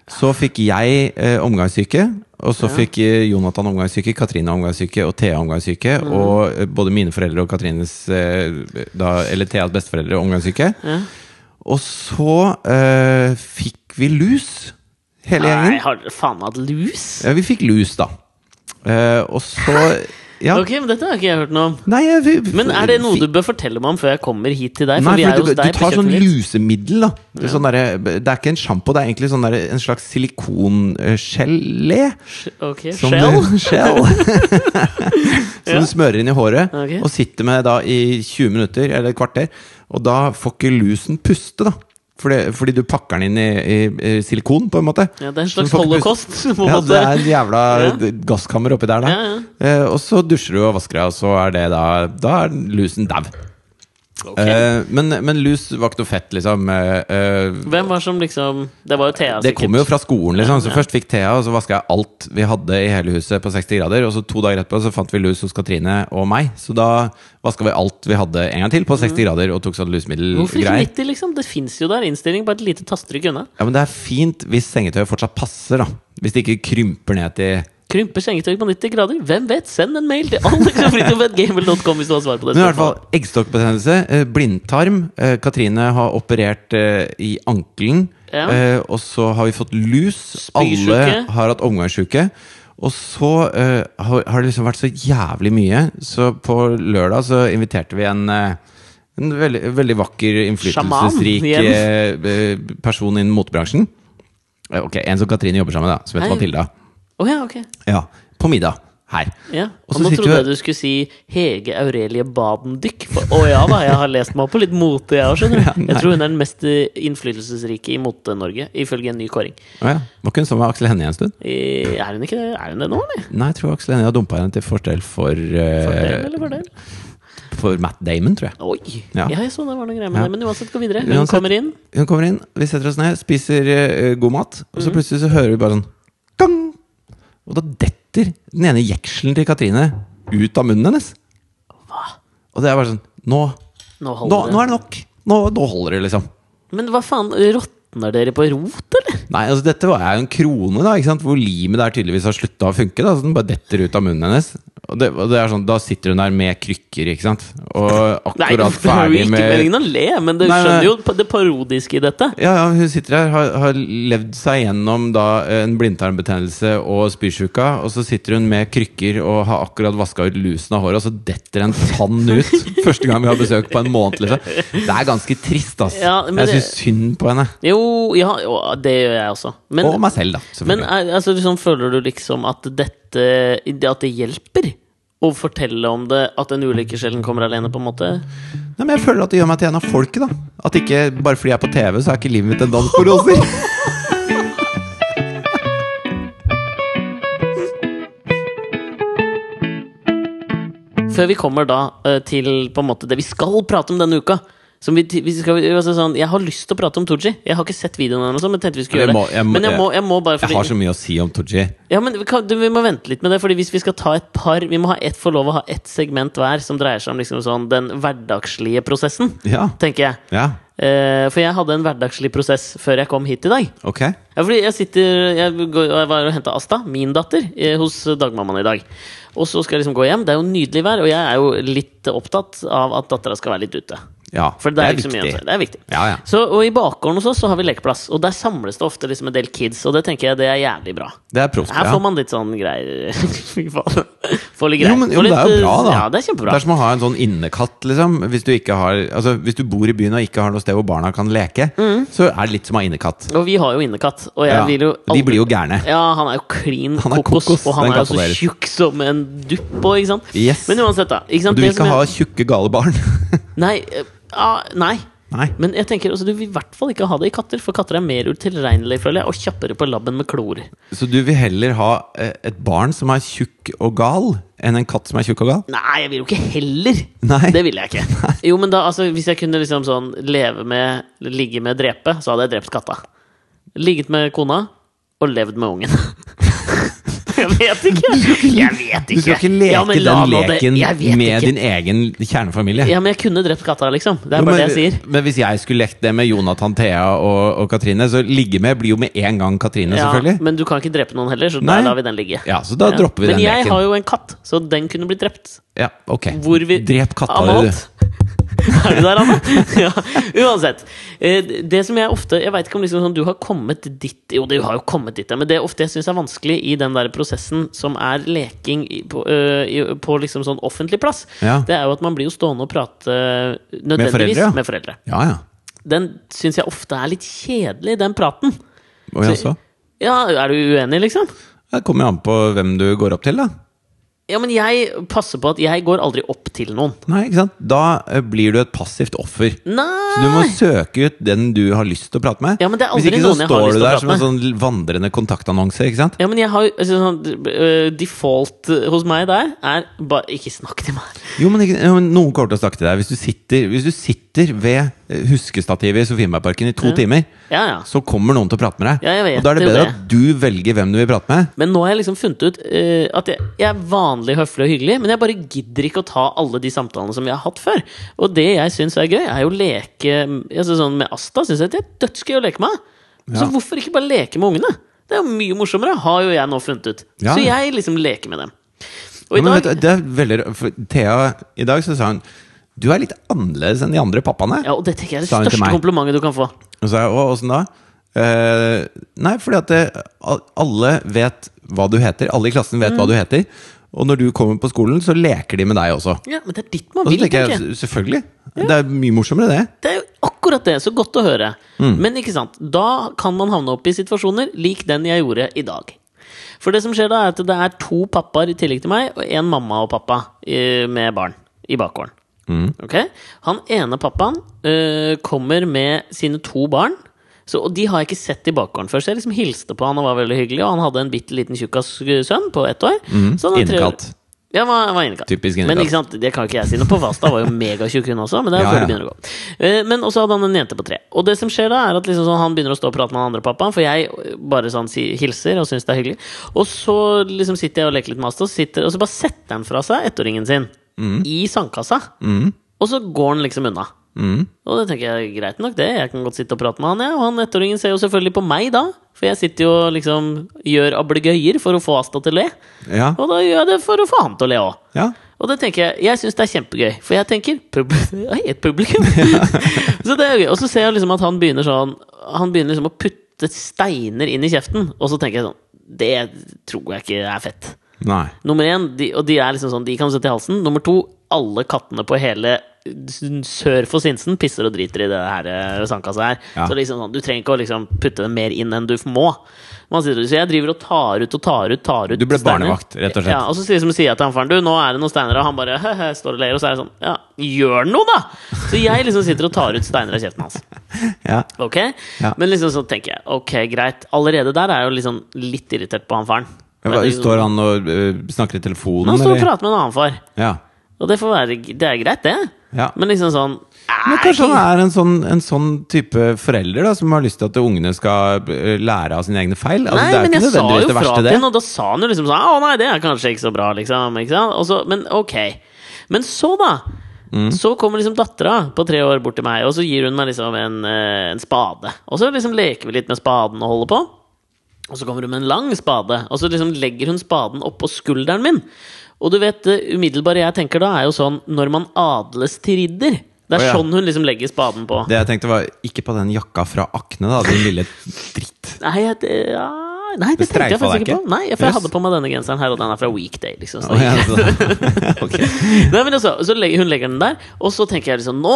Speaker 2: Så fikk jeg eh, omgangssyke, og så fikk eh, Jonathan omgangssyke, Katrine omgangssyke og Thea omgangssyke. Og eh, både mine foreldre og Katrines eh, da, Eller Theas besteforeldre omgangssyke. Og så eh, fikk vi lus,
Speaker 1: Ah,
Speaker 2: hele gjengen.
Speaker 1: Nei, har dere faen meg hatt lus?
Speaker 2: Ja, vi fikk lus, da. Eh, og så Ja.
Speaker 1: Ok, men Dette har ikke jeg hørt noe om.
Speaker 2: Nei, jeg, vi-
Speaker 1: Men er det noe du bør fortelle meg om før jeg kommer hit til deg? For
Speaker 2: Nei,
Speaker 1: vi er
Speaker 2: for
Speaker 1: hos
Speaker 2: du,
Speaker 1: deg
Speaker 2: du tar
Speaker 1: på
Speaker 2: sånn
Speaker 1: kjøkkenet ditt.
Speaker 2: lusemiddel, da. Det er Sånn derre- det er ikke en sjampo, det er egentlig sånn derre- en slags silikongelé.
Speaker 1: Ok,
Speaker 2: Som
Speaker 1: Shell?
Speaker 2: Du, skjell. som du smører inn i håret,
Speaker 1: Ok.
Speaker 2: og sitter med da i 20 minutter, eller et kvarter. Og da får ikke lusen puste, da. Fordi, fordi du pakker den inn i, i, i silikon, på en måte.
Speaker 1: Ja, det er en
Speaker 2: Så den
Speaker 1: slags
Speaker 2: får ikke
Speaker 1: holocaust.
Speaker 2: puste.
Speaker 1: på en
Speaker 2: Ja,
Speaker 1: måte.
Speaker 2: det er en jævla
Speaker 1: Ja.
Speaker 2: d- gasskammer oppi der, da.
Speaker 1: Ja,
Speaker 2: Eh, og så dusjer du og vasker deg, og så er det da Da er lusen dau.
Speaker 1: Ok.
Speaker 2: Eh, men, men lus var ikke noe fett, liksom. Eh, eh,
Speaker 1: Hvem var som liksom Det var jo Thea,
Speaker 2: det
Speaker 1: sikkert.
Speaker 2: kommer jo fra skolen, liksom.
Speaker 1: Ja,
Speaker 2: Så
Speaker 1: ja.
Speaker 2: først fikk Thea, og så vaska jeg alt vi hadde i hele huset på 60 grader. Og så to dager etterpå så fant vi lus hos Katrine og meg. Så da vaska vi alt vi hadde en gang til på 60 grader, og tok sånn
Speaker 1: Mhm. Hvorfor ikke
Speaker 2: lusemiddelgreier.
Speaker 1: 90, liksom? Det fins jo der. Innstilling, bare et lite tastetrykk unna.
Speaker 2: Ja, men det er fint hvis sengetøyet fortsatt passer, da. Hvis det ikke krymper ned til
Speaker 1: Krymper sengetøy på 90 grader? Hvem vet? Send en mail til alexandrfritjof.gmail.com hvis du har svar på det.
Speaker 2: Men i hvert fall eggstokkbetennelse, eh, blindtarm. eh, Katrine har operert eh, i ankelen.
Speaker 1: Ja.
Speaker 2: eh, Og så har vi fått lus.
Speaker 1: Spysjuke.
Speaker 2: Alle har hatt omgangssjuke. Og så eh, har har det liksom vært så jævlig mye. Så på lørdag så inviterte vi en eh, en veldig, veldig vakker, innflytelsesrik
Speaker 1: Sjaman,
Speaker 2: eh, eh, person innen motebransjen. Eh, Ok, En som Katrine jobber sammen med, da, som heter
Speaker 1: Hei.
Speaker 2: Matilda.
Speaker 1: Å ja, ok.
Speaker 2: Ja, På middag her.
Speaker 1: Ja.
Speaker 2: Og
Speaker 1: Og
Speaker 2: så
Speaker 1: nå
Speaker 2: sitter
Speaker 1: trodde
Speaker 2: vi-
Speaker 1: jeg du skulle si Hege Aurelie Badendyk. For- Å ja da, jeg har lest meg opp på litt mote, jeg òg, skjønner du.
Speaker 2: nei.
Speaker 1: Jeg tror hun er den mest eh, innflytelsesrike i Mote-Norge, ifølge en ny kåring.
Speaker 2: Å ja. Var ikke hun sammen med Aksel Hennie en stund?
Speaker 1: Eh, Er hun ikke det? Er hun det nå, eller?
Speaker 2: Nei, jeg tror Aksel Hennie har dumpa henne til fordel for eh,
Speaker 1: Fordel eller fordel?
Speaker 2: For Matt Damon, tror jeg.
Speaker 1: Oi!
Speaker 2: Ja.
Speaker 1: Ja, jeg så det var noe greier med
Speaker 2: Ja.
Speaker 1: det. Men uansett, gå videre. Hun
Speaker 2: Uansett.
Speaker 1: kommer inn.
Speaker 2: Hun kommer inn, vi setter oss ned, spiser eh, god mat, og
Speaker 1: Mhm.
Speaker 2: så plutselig så hører vi bare sånn Gang! Og da detter den ene jekselen til Katrine ut av munnen hennes.
Speaker 1: Hva?
Speaker 2: Og det er bare sånn Nå,
Speaker 1: Nå
Speaker 2: nå,
Speaker 1: holder
Speaker 2: nå
Speaker 1: det.
Speaker 2: er det nok! Nå, nå holder det, liksom.
Speaker 1: Men hva faen, råtner dere på rot, eller?
Speaker 2: Nei, altså Dette var jo en krone, da, ikke sant? hvor limet der tydeligvis har slutta å funke. da, så Den bare detter ut av munnen hennes. Og det, og det er sånn, Da sitter hun der med krykker, ikke sant. Og
Speaker 1: Nei, det er jo
Speaker 2: akkurat ferdig
Speaker 1: ikke
Speaker 2: med
Speaker 1: meningen å le, men du
Speaker 2: Nei, nei.
Speaker 1: skjønner jo pa- det parodiske i dette.
Speaker 2: Ja, ja, hun sitter her, har, har levd seg gjennom da eh, en blindtarmbetennelse og spysjuka, og så sitter hun med krykker og har akkurat vaska ut lusen av håret, og så detter en tann ut første gang vi har besøk på en måned, liksom. Det er ganske trist, ass.
Speaker 1: Ja, men
Speaker 2: jeg
Speaker 1: det-
Speaker 2: syns synd på henne.
Speaker 1: Jo, ja, jo, det gjør jeg også. Men,
Speaker 2: og meg selv, da.
Speaker 1: men
Speaker 2: selvfølgelig.
Speaker 1: er, altså, liksom, føler du liksom at dette det- At det hjelper å fortelle om det, at en ulykke sjelden kommer alene, på en måte?
Speaker 2: Nei, men jeg føler at det gjør meg til en av folket, da. At ikke bare fordi jeg er på TV, så er ikke livet mitt en dans på roser.
Speaker 1: Før vi kommer da eh, til på en måte det vi skal prate om denne uka. Som vi, vi skal, altså sånn, jeg har lyst til å prate om Tooji. Jeg har ikke sett videoen ennå, men tenkte vi skulle
Speaker 2: Men
Speaker 1: gjøre
Speaker 2: jeg må- jeg
Speaker 1: det.
Speaker 2: må-
Speaker 1: Men jeg må, jeg må bare
Speaker 2: Jeg har så mye å si om Tooji.
Speaker 1: Ja, men vi, kan, du, vi må vente litt med det, Fordi hvis vi skal ta et par Vi må ha ett, få lov å ha ett segment hver som dreier seg om liksom sånn, den hverdagslige prosessen,
Speaker 2: Ja.
Speaker 1: tenker jeg.
Speaker 2: ja.
Speaker 1: Eh, for jeg hadde en hverdagslig prosess før jeg kom hit i dag.
Speaker 2: Ok.
Speaker 1: Ja, fordi jeg sitter Jeg, går, jeg var og henta Asta, min datter, eh, hos dagmammaen i dag. Og så skal jeg liksom gå hjem. Det er jo nydelig vær, og jeg er jo litt opptatt av at dattera skal være litt ute.
Speaker 2: Ja.
Speaker 1: For det er, liksom mye å gjøre. Det er viktig.
Speaker 2: Ja, ja.
Speaker 1: Så, og i bakgården hos oss så har vi lekeplass, og der samles det ofte liksom en del kids. Og det tenker jeg det er jævlig bra.
Speaker 2: Det er proft.
Speaker 1: Her
Speaker 2: ja.
Speaker 1: får man litt sånn greier. Fy faen. Får litt
Speaker 2: Jo,
Speaker 1: greier.
Speaker 2: men, jo,
Speaker 1: Får
Speaker 2: men det
Speaker 1: litt,
Speaker 2: er jo bra,
Speaker 1: eh,
Speaker 2: da.
Speaker 1: Ja, det er kjempebra.
Speaker 2: Det er som å ha en sånn innekatt, liksom. Hvis du, ikke har, altså, hvis du bor i byen og ikke har noe sted hvor barna kan leke,
Speaker 1: Mm.
Speaker 2: så er det litt som å ha innekatt.
Speaker 1: Og vi har jo innekatt. Og jeg
Speaker 2: Ja,
Speaker 1: vil jo
Speaker 2: De blir jo gærne.
Speaker 1: Ja, han er jo klin
Speaker 2: Han er
Speaker 1: kokos,
Speaker 2: kokos,
Speaker 1: og han
Speaker 2: den
Speaker 1: er jo
Speaker 2: katten
Speaker 1: så
Speaker 2: deres.
Speaker 1: tjukk som en dupp og ikke sant?
Speaker 2: Yes.
Speaker 1: Men uansett, da. Ikke sant?
Speaker 2: Du vil
Speaker 1: Det som
Speaker 2: ikke ha
Speaker 1: jeg-
Speaker 2: tjukke, gale barn.
Speaker 1: Nei. eh, ah, nei.
Speaker 2: Nei.
Speaker 1: Men jeg tenker også, du vil i hvert fall ikke ha det i katter, for katter er mer utilregnelige, føler jeg, og kjappere på labben med klor.
Speaker 2: Så du vil heller ha eh, et barn som er tjukk og gal, enn en katt som er tjukk og gal?
Speaker 1: Nei, jeg vil jo ikke heller!
Speaker 2: Nei.
Speaker 1: Det vil jeg ikke. Jo, men da, altså, hvis jeg kunne liksom sånn leve med, ligge med, drepe, så hadde jeg drept katta. Ligget med kona, og levd med ungen. Jeg vet ikke! Jeg vet ikke!
Speaker 2: Du skal ikke leke
Speaker 1: Ja, men la
Speaker 2: den
Speaker 1: nå det-
Speaker 2: leken
Speaker 1: Jeg vet
Speaker 2: med
Speaker 1: ikke.
Speaker 2: din egen kjernefamilie.
Speaker 1: Ja, men jeg kunne drept katta, liksom. Det er bare
Speaker 2: Jo, men,
Speaker 1: det jeg sier.
Speaker 2: men hvis jeg skulle lekt det med Jonathan, Thea og, og Katrine, så ligge med blir jo med en gang Katrine,
Speaker 1: Ja,
Speaker 2: selvfølgelig.
Speaker 1: men du kan ikke drepe noen heller, så
Speaker 2: Nei.
Speaker 1: da lar vi den ligge.
Speaker 2: Ja, så da
Speaker 1: Ja.
Speaker 2: dropper vi
Speaker 1: men
Speaker 2: den
Speaker 1: jeg
Speaker 2: leken.
Speaker 1: har jo en katt, så den kunne blitt drept.
Speaker 2: Ja, ok.
Speaker 1: Hvor vi
Speaker 2: Drep katta di, du.
Speaker 1: Amalt. Er du der, Anne? Ja, uansett. Eh, Det som jeg ofte Jeg vet ikke om liksom sånn, du har kommet dit Jo, du har jo kommet dit, ja, men det ofte jeg syns er vanskelig i den der prosessen som er leking i- på, eh, i- på liksom sånn offentlig plass,
Speaker 2: Ja.
Speaker 1: det er jo at man blir jo stående og prate eh, nødvendigvis
Speaker 2: foreldre, ja.
Speaker 1: med foreldre.
Speaker 2: Ja, ja.
Speaker 1: Den syns jeg ofte er litt kjedelig, den praten.
Speaker 2: Og jeg også.
Speaker 1: Ja, er du uenig, liksom?
Speaker 2: Det kommer jo an på hvem du går opp til, da.
Speaker 1: Ja, men jeg passer på at jeg går aldri opp til noen.
Speaker 2: Nei, ikke sant? Da eh, blir du et passivt offer. Så du må
Speaker 1: Nei!
Speaker 2: søke ut den du har lyst til å prate med.
Speaker 1: Ja, men det er
Speaker 2: Hvis
Speaker 1: aldri
Speaker 2: ikke så
Speaker 1: noen jeg har
Speaker 2: står
Speaker 1: lyst
Speaker 2: du
Speaker 1: til å
Speaker 2: der
Speaker 1: prate
Speaker 2: som en sånn vandrende kontaktannonse. ikke sant?
Speaker 1: Ja, men jeg har jo altså, sånn, øh, Default hos meg der er bare Ikke snakk til meg.
Speaker 2: Jo, men, ikke, ja, men Noen kommer til å snakke til deg. Hvis du sitter, hvis du sitter ved eh, huskestativet i Sofienbergparken i to timer,
Speaker 1: Ja, ja.
Speaker 2: så kommer noen til å prate med deg.
Speaker 1: Ja, jeg vet
Speaker 2: og da er det
Speaker 1: jo
Speaker 2: bedre
Speaker 1: det.
Speaker 2: at du velger hvem du vil prate med.
Speaker 1: Men nå har jeg liksom funnet ut øh, at jeg, jeg er vanlig høflig og hyggelig, men jeg bare gidder ikke å ta alle de samtalene som jeg har hatt før. Og det jeg syns er gøy, er jo å leke altså, sånn Med Asta syns jeg det er dødsgøy å leke med. Så
Speaker 2: Ja.
Speaker 1: hvorfor ikke bare leke med ungene? Det er jo mye morsommere, har jo jeg nå funnet ut.
Speaker 2: Ja.
Speaker 1: Så jeg liksom leker med dem. Og i
Speaker 2: Ja, men
Speaker 1: dag
Speaker 2: vet du, det er veldig, rart, for Thea i dag så sa hun du er litt annerledes enn de andre pappaene.
Speaker 1: Ja, og det tenker jeg er det
Speaker 2: Sa hun til
Speaker 1: største
Speaker 2: meg.
Speaker 1: komplimentet du kan få.
Speaker 2: Og så sa jeg, «Å, åssen da? Eh, nei, fordi at det, al- alle vet hva du heter. Alle i klassen vet hva
Speaker 1: Mm.
Speaker 2: du heter. Og når du kommer på skolen, så leker de med deg også.
Speaker 1: Ja, men det er ditt man
Speaker 2: Og så
Speaker 1: vil,
Speaker 2: tenker
Speaker 1: tenker
Speaker 2: jeg,
Speaker 1: jeg.
Speaker 2: «S- selvfølgelig. Det er mye morsommere, det.
Speaker 1: Det er jo akkurat det. Så godt å høre. Men ikke sant, da kan man havne opp i situasjoner lik den jeg gjorde i dag. For det som skjer da, er at det er to pappaer i tillegg til meg, og én mamma og pappa eh, med barn i bakgården. Ok? Han ene pappaen eh, kommer med sine to barn. Så, og de har jeg ikke sett i bakgården før. Så jeg liksom hilste på han og var veldig hyggelig. Og han hadde en bitte liten tjukkas eh, sønn på ett år. Så han har tre år-
Speaker 2: Innekatt.
Speaker 1: Ja, han var, han var innekatt.
Speaker 2: Typisk
Speaker 1: Men
Speaker 2: innekatt.
Speaker 1: ikke sant, det kan jo ikke jeg si noe på. Fasta var jo megatjukk hun også, men det er
Speaker 2: Ja,
Speaker 1: før det
Speaker 2: ja.
Speaker 1: begynner å gå. Eh, Men også hadde han en jente på tre. Og det som skjer da, er at liksom sånn, han begynner å stå og prate med han andre pappaen, for jeg eh, bare sånn si, hilser og syns det er hyggelig. Og så liksom sitter jeg og leker litt med Astos, sitter, og så bare setter han fra seg ettåringen sin
Speaker 2: Mm.
Speaker 1: i sandkassa. Og så går han liksom unna.
Speaker 2: Mm.
Speaker 1: Og det tenker jeg greit nok, det. Jeg kan godt sitte og prate med han, jeg. Og han ettåringen ser jo selvfølgelig på meg da, for jeg sitter jo og liksom gjør ablegøyer for å få Asta til å le.
Speaker 2: Ja.
Speaker 1: Og da gjør jeg det for å få han til å le òg.
Speaker 2: ja.
Speaker 1: Og det tenker jeg, jeg syns det er kjempegøy, for jeg tenker pub Oi, et publikum! så det er gøy. Og så ser jeg liksom at han begynner sånn Han begynner liksom å putte steiner inn i kjeften, og så tenker jeg sånn Det tror jeg ikke er fett.
Speaker 2: Nei.
Speaker 1: Nummer én, de, og de er liksom sånn, de kan du sette i halsen. Nummer to, alle kattene på hele s- sør for Sinsen pisser og driter i det her eh, sandkassa her.
Speaker 2: Ja.
Speaker 1: Så liksom sånn, du trenger ikke å liksom putte dem mer inn enn du må. Man sier, så jeg driver og tar ut og tar ut, tar ut
Speaker 2: Du ble
Speaker 1: steiner.
Speaker 2: barnevakt, rett og slett.
Speaker 1: Ja, og så sier, som sier jeg til han faren, du, nå er det noen steiner, og han bare «Hehe», står og ler, og så er det sånn, ja, gjør noe da! Så jeg liksom sitter og tar ut steiner av kjeften hans.
Speaker 2: Ja.
Speaker 1: Ok?
Speaker 2: Ja.
Speaker 1: Men liksom så tenker jeg, ok, greit. Allerede der er jeg jo liksom litt irritert på han faren.
Speaker 2: Ja,
Speaker 1: Men
Speaker 2: hva-
Speaker 1: liksom-
Speaker 2: Står han og øh, snakker i telefonen,
Speaker 1: han står og prater med en annen far.
Speaker 2: Ja.
Speaker 1: Og det, får være, det er greit, det.
Speaker 2: Ja.
Speaker 1: Men liksom sånn
Speaker 2: Men kanskje han er en sånn, en sånn type forelder da, som har lyst til at ungene skal øh, lære av sine egne feil? Altså,
Speaker 1: Nei,
Speaker 2: det er jo
Speaker 1: men
Speaker 2: ikke
Speaker 1: jeg sa
Speaker 2: nødvendigvis
Speaker 1: jo
Speaker 2: det
Speaker 1: fra
Speaker 2: verste,
Speaker 1: til
Speaker 2: det.
Speaker 1: henne, og da sa han jo liksom sånn Å nei, det er kanskje ikke så bra, liksom. Ikke sant? Og så, men ok. Men så, da.
Speaker 2: Mm.
Speaker 1: Så kommer liksom dattera på tre år bort til meg, og så gir hun meg liksom en, eh, en spade. Og så liksom leker vi litt med spaden og holder på. Og så kommer hun med en lang spade, og så liksom legger hun spaden oppå skulderen min. Og du vet, det umiddelbare jeg tenker da, er jo sånn når man adles til ridder. Det er
Speaker 2: Å, ja.
Speaker 1: sånn hun liksom legger spaden på.
Speaker 2: Det jeg tenkte var ikke på den jakka fra Akne, da, den lille dritt.
Speaker 1: Nei, jeg, det, ja, nei, det,
Speaker 2: Det
Speaker 1: tenkte jeg
Speaker 2: streifa
Speaker 1: faktisk
Speaker 2: deg
Speaker 1: ikke
Speaker 2: ikke?
Speaker 1: på. Nei, for jeg
Speaker 2: Yes.
Speaker 1: hadde på meg denne genseren her, og den er fra Weekday. liksom så.
Speaker 2: Å, ja, så- Altså. ok.
Speaker 1: Nei, men altså, så legger, Hun legger den der, og så tenker jeg liksom Nå!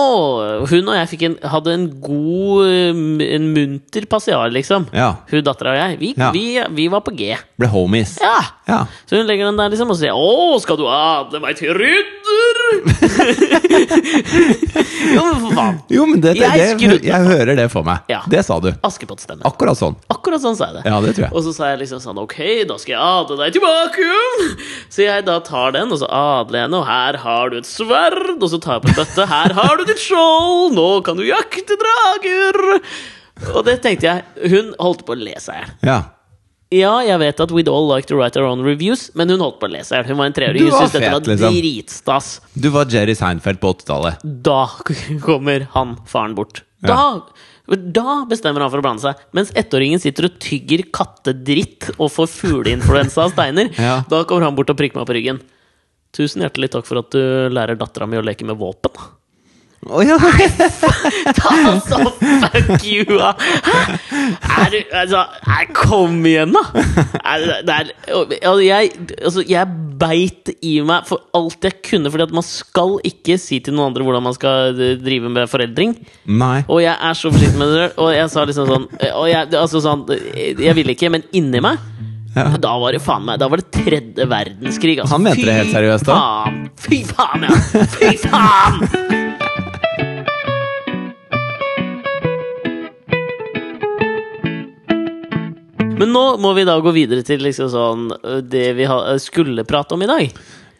Speaker 1: Hun og jeg fikk en, hadde en god eh, En munter passiar, liksom.
Speaker 2: Ja.
Speaker 1: Hun dattera og jeg. Vi,
Speaker 2: Ja.
Speaker 1: vi, vi var på G.
Speaker 2: Ble homies.
Speaker 1: Ja!
Speaker 2: Ja.
Speaker 1: Så hun legger den der, liksom, og så sier jeg 'Å, skal du adle meg til rydder?' jo, men for faen.
Speaker 2: Jo, men det, det,
Speaker 1: Jeg
Speaker 2: det,
Speaker 1: skrudde
Speaker 2: jeg hører det for meg.
Speaker 1: Ja.
Speaker 2: Det sa du.
Speaker 1: Askepottstemme.
Speaker 2: Akkurat sånn.
Speaker 1: Akkurat sånn sa jeg det.
Speaker 2: Ja, det tror jeg.
Speaker 1: Og så sa jeg liksom sånn Ok, da skal jeg adle deg tilbake! Så jeg da tar den, og så adler jeg henne, og her har du et sverd, og så tar jeg på en bøtte, her har du ditt skjold, nå kan du jakte drager! Og det tenkte jeg. Hun holdt på å le seg i hjel.
Speaker 2: Ja.
Speaker 1: Ja, jeg vet at we'd all like to write our own reviews, men hun holdt på å le seg i hjel. Hun var en treåring.
Speaker 2: Du
Speaker 1: Hun
Speaker 2: var
Speaker 1: syntes dette
Speaker 2: fet,
Speaker 1: var
Speaker 2: liksom.
Speaker 1: dritstas.
Speaker 2: Du var Jerry Seinfeld på 80-tallet.
Speaker 1: Da kommer han faren bort. Da, da bestemmer han for å blande seg. Mens ettåringen sitter og tygger kattedritt og får fugleinfluensa av steiner,
Speaker 2: Ja.
Speaker 1: da kommer han bort og prikker meg på ryggen. Tusen hjertelig takk for at du lærer dattera mi å leke med våpen.
Speaker 2: Å, ja.
Speaker 1: Ta så fuck you, da! Hæ? Er du Altså, nei, kom igjen, da! Er, det- det er, altså, jeg, altså, jeg beit i meg for alt jeg kunne, Fordi at man skal ikke si til noen andre hvordan man skal eh, drive med foreldring.
Speaker 2: Nei.
Speaker 1: Og jeg er så forsiktig med det, og jeg sa liksom sånn og jeg, altså sånn, jeg ville ikke, men inni meg
Speaker 2: Ja.
Speaker 1: Da var det faen meg Da var det tredje verdenskrig. Altså.
Speaker 2: Han mente det helt seriøst, da?
Speaker 1: Faen. Fy faen, ja! Fy faen! Men nå må vi da gå videre til liksom sånn øh, det vi ha- skulle prate om i dag.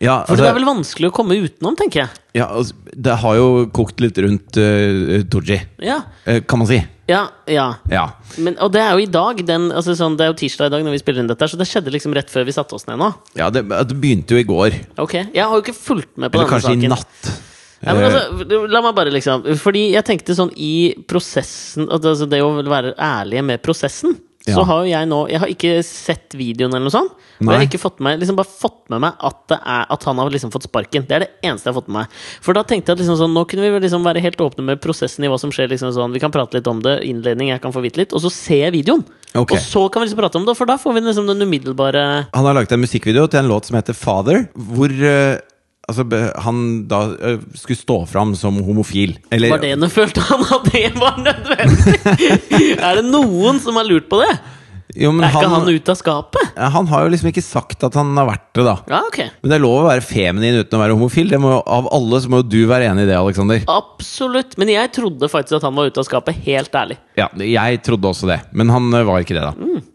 Speaker 2: Ja,
Speaker 1: For det er
Speaker 2: altså,
Speaker 1: vel vanskelig å komme utenom, tenker jeg.
Speaker 2: ja, altså, det har jo kokt litt rundt uh, Tooji,
Speaker 1: Ja,
Speaker 2: eh, kan man si.
Speaker 1: ja, ja
Speaker 2: Ja.
Speaker 1: Men, og det er jo i dag, den, altså sånn, det er jo tirsdag i dag når vi spiller inn dette, her, så det skjedde liksom rett før vi satte oss ned nå.
Speaker 2: ja det, det begynte jo i går.
Speaker 1: Ok, Jeg har jo ikke fulgt med på
Speaker 2: Eller
Speaker 1: denne
Speaker 2: kanskje
Speaker 1: saken.
Speaker 2: i natt. Eh,
Speaker 1: Ja, men altså, la meg bare liksom Fordi jeg tenkte sånn i prosessen at altså Det å være ærlige med prosessen Så
Speaker 2: Ja.
Speaker 1: har jo jeg nå Jeg har ikke sett videoen eller noe sånt Og jeg
Speaker 2: Nei.
Speaker 1: har ikke fått med, liksom bare fått med meg at, det er, at han har liksom fått sparken Det er det eneste jeg har fått med meg For da tenkte jeg at liksom sånn Nå kunne vi vel liksom være helt åpne med prosessen i hva som skjer liksom sånn Vi kan prate litt om det, innledning, jeg kan få vite litt Og så ser jeg videoen Og
Speaker 2: Ok.
Speaker 1: så kan vi liksom prate om det For da får vi liksom den umiddelbare
Speaker 2: Han har laget en musikkvideo til en låt som heter Father, hvor eh, altså, be- han da eh, skulle stå fram som homofil. Eller-
Speaker 1: Var det noe følte han at det var nødvendig? er det noen som har lurt på det?
Speaker 2: Jo, men
Speaker 1: Er ikke
Speaker 2: han,
Speaker 1: han
Speaker 2: han,
Speaker 1: ute av skapet?
Speaker 2: har jo liksom ikke sagt at han har vært det, da.
Speaker 1: Ja, ok.
Speaker 2: Men det er lov å være feminin uten å være homofil. Det må, jo- av alle så må jo du være enig i det, Aleksander.
Speaker 1: Absolutt. Men jeg trodde faktisk at han var ute av skapet, helt ærlig.
Speaker 2: Ja, jeg trodde også det, men han eh, var ikke det,
Speaker 1: Mm.
Speaker 2: da.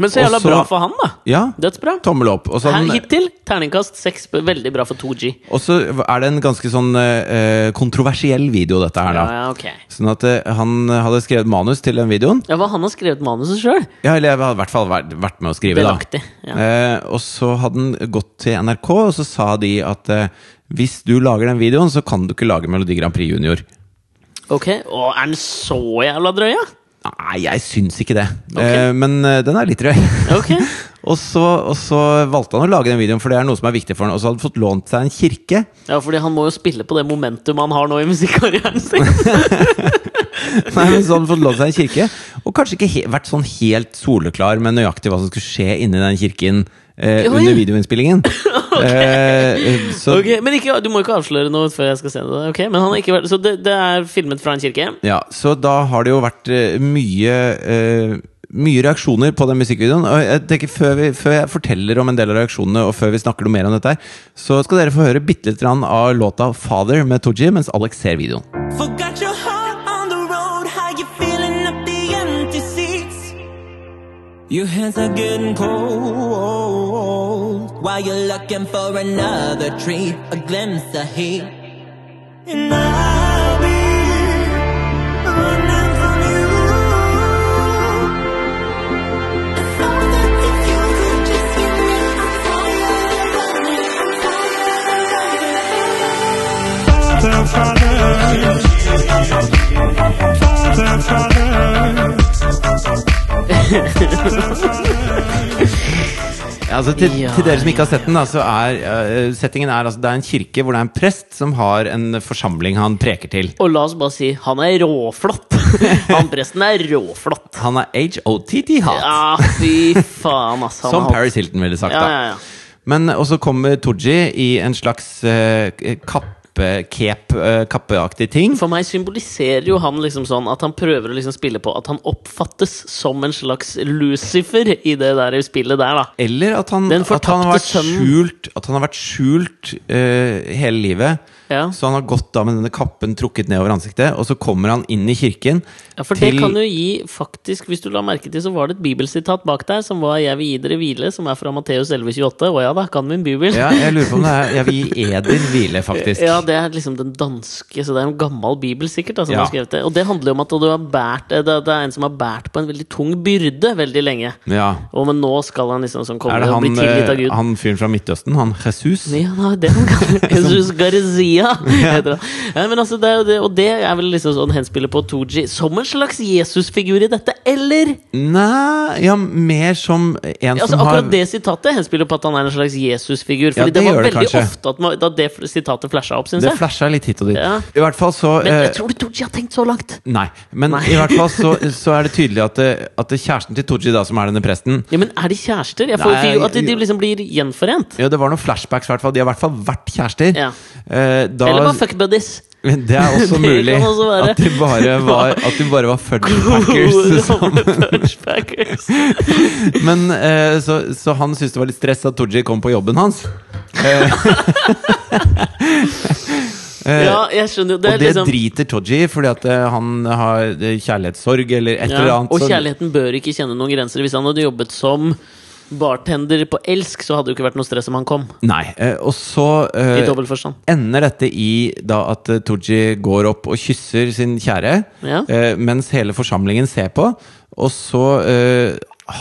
Speaker 1: Men så Sånn- jævla
Speaker 2: Og så-
Speaker 1: bra for han, da.
Speaker 2: Ja,
Speaker 1: Dødsbra.
Speaker 2: tommel opp. Og så,
Speaker 1: Her,
Speaker 2: han,
Speaker 1: hittil terningkast seks. b- Veldig bra for 2G.
Speaker 2: og så er det en ganske sånn eh, eh, kontroversiell video, dette her,
Speaker 1: Ja,
Speaker 2: da.
Speaker 1: ja, ok.
Speaker 2: Sånn at eh, han hadde skrevet manus til den videoen.
Speaker 1: Ja, hva han har skrevet manuset sjøl?
Speaker 2: Ja, eller jeg hadde i hvert fall vært, vært med å skrive, da.
Speaker 1: Delaktig. Ja.
Speaker 2: Eh, og så hadde han gått til NRK, og så sa de at eh, hvis du lager den videoen, så kan du ikke lage Melodi Grand Prix Junior.
Speaker 1: Ok, Å, er den så jævla drøy, ja?
Speaker 2: Nei, jeg syns ikke det.
Speaker 1: Ok.
Speaker 2: Eh, men eh, den er litt drøy.
Speaker 1: Ok.
Speaker 2: og, så, og så valgte han å lage den videoen, for det er noe som er viktig for han. Og så hadde han fått lånt seg en kirke.
Speaker 1: Ja, fordi han må jo spille på det momentum han har nå i musikkarrieren sin.
Speaker 2: Nei, men så hadde han fått lånt seg en kirke Og kanskje ikke he vært sånn helt soleklar med nøyaktig hva som skulle skje inni den kirken eh,
Speaker 1: Oi.
Speaker 2: under videoinnspillingen. eh, så
Speaker 1: Ok, men ikke, Du må ikke avsløre noe før jeg skal se det. Ok, men han har ikke vært, Så det, det er filmet fra en kirke?
Speaker 2: Ja, så da har det jo vært eh, mye eh, mye reaksjoner på den musikkvideoen. Og jeg tenker før, vi, før jeg forteller om en del av reaksjonene, og før vi snakker noe mer om dette, her, så skal dere få høre bitte litt grann av låta 'Father' med Tooji mens Alex ser videoen.
Speaker 3: Forgot your heart on the road, how you feeling up the empty seats. Your hands are getting cold while you're looking for another treat, a glimpse of heat. And I'll be running from you. If only if you could just hear me, I'm tired of running, I'm tired of running.
Speaker 4: Father, Father, Father, Father.
Speaker 2: Ja, altså til,
Speaker 1: Ja,
Speaker 2: til dere som ikke har sett den, da, så er eh, settingen er altså det er en kirke hvor det er en prest som har en forsamling han preker til.
Speaker 1: Og la oss bare si, han er råflott. Han presten er råflott.
Speaker 2: Han er H.O.T.T.H.A.T.
Speaker 1: Ja, fy faen, ass. Han
Speaker 2: Som
Speaker 1: har-
Speaker 2: Paris Hilton ville sagt,
Speaker 1: Ja,
Speaker 2: da.
Speaker 1: ja, ja.
Speaker 2: Men eh, og så kommer Tooji i en slags eh, kappe, kep, eh, kappeaktig ting.
Speaker 1: For meg symboliserer jo han liksom sånn at han prøver å liksom spille på at han oppfattes som en slags Lucifer i det der spillet der, da.
Speaker 2: Eller at han,
Speaker 1: Den
Speaker 2: at han har
Speaker 1: fortapte
Speaker 2: vært
Speaker 1: sønnen.
Speaker 2: skjult, at han har vært skjult eh, hele livet.
Speaker 1: Ja.
Speaker 2: Så han har gått da med denne kappen trukket ned over ansiktet, og så kommer han inn i kirken.
Speaker 1: Ja, for det kan jo gi faktisk, Hvis du la merke til, så var det et bibelsitat bak der som var 'Jeg vil gi dere hvile', som er fra Matteus 11,28. Å ja da, kan min bibel.
Speaker 2: ja, jeg lurer på om det er Jeg vil gi Edin hvile, faktisk.
Speaker 1: Ja, det er liksom den danske, så det er en gammel bibel sikkert. Da, som
Speaker 2: Ja.
Speaker 1: har skrevet det. Og det handler jo om at du har bært, det, det er en som har bært på en veldig tung byrde veldig lenge.
Speaker 2: Ja.
Speaker 1: Og men nå skal han liksom sånn komme
Speaker 2: Er det
Speaker 1: og
Speaker 2: han,
Speaker 1: bli tilgitt av
Speaker 2: eh,
Speaker 1: Gud.
Speaker 2: han fyren fra Midtøsten? Han Jesus?
Speaker 1: Ja, det er det han kaller Jesus Garcia. Ja, heter han. Ja, men altså, det er jo det, og det er vel liksom sånn henspillet på Tooji som en slags Jesusfigur i dette, eller?
Speaker 2: Nei Ja, mer som en
Speaker 1: Altså,
Speaker 2: som har
Speaker 1: akkurat det sitatet henspiller på at han er en slags Jesusfigur. Fordi
Speaker 2: Ja, det
Speaker 1: det, var
Speaker 2: gjør det
Speaker 1: veldig
Speaker 2: kanskje.
Speaker 1: ofte at man, da det sitatet flasha opp, syns
Speaker 2: Det
Speaker 1: jeg.
Speaker 2: flasha litt hit og dit.
Speaker 1: Ja.
Speaker 2: I hvert fall så
Speaker 1: Men
Speaker 2: eh,
Speaker 1: jeg tror du Tooji har tenkt så langt?
Speaker 2: Nei. Men
Speaker 1: Nei.
Speaker 2: i hvert fall så, så er det tydelig at, det, at det kjæresten til Tooji, da, som er denne presten
Speaker 1: Ja, Men er de kjærester? Jeg får
Speaker 2: Nei,
Speaker 1: jo at de, de
Speaker 2: jeg-
Speaker 1: liksom blir gjenforent.
Speaker 2: ja, Det var noen flashbacks, i hvert fall. De har i hvert fall vært kjærester.
Speaker 1: Ja.
Speaker 2: Eh, da,
Speaker 1: Eller bare fuck buddies.
Speaker 2: Men Det er også
Speaker 1: Det
Speaker 2: mulig
Speaker 1: kan også være.
Speaker 2: at de bare var, at de bare var
Speaker 1: Gode,
Speaker 2: fudgepackers sammen.
Speaker 1: gamle punchbackers.
Speaker 2: Men eh, så, så han syntes det var litt stress at Tooji kom på jobben hans. Eh,
Speaker 1: Ja, jeg skjønner jo. Det
Speaker 2: og
Speaker 1: er
Speaker 2: det
Speaker 1: liksom
Speaker 2: driter Tooji i, fordi at eh, han har eh, kjærlighetssorg eller et eller
Speaker 1: ja,
Speaker 2: annet.
Speaker 1: Og
Speaker 2: så-
Speaker 1: kjærligheten bør ikke kjenne noen grenser. Hvis han hadde jobbet som bartender på Elsk, så hadde det jo ikke vært noe stress om han kom.
Speaker 2: Nei, eh, og så eh,
Speaker 1: I dobbelt forstand.
Speaker 2: ender dette i da at eh, Tooji går opp og kysser sin kjære,
Speaker 1: Ja.
Speaker 2: eh, mens hele forsamlingen ser på, og så eh,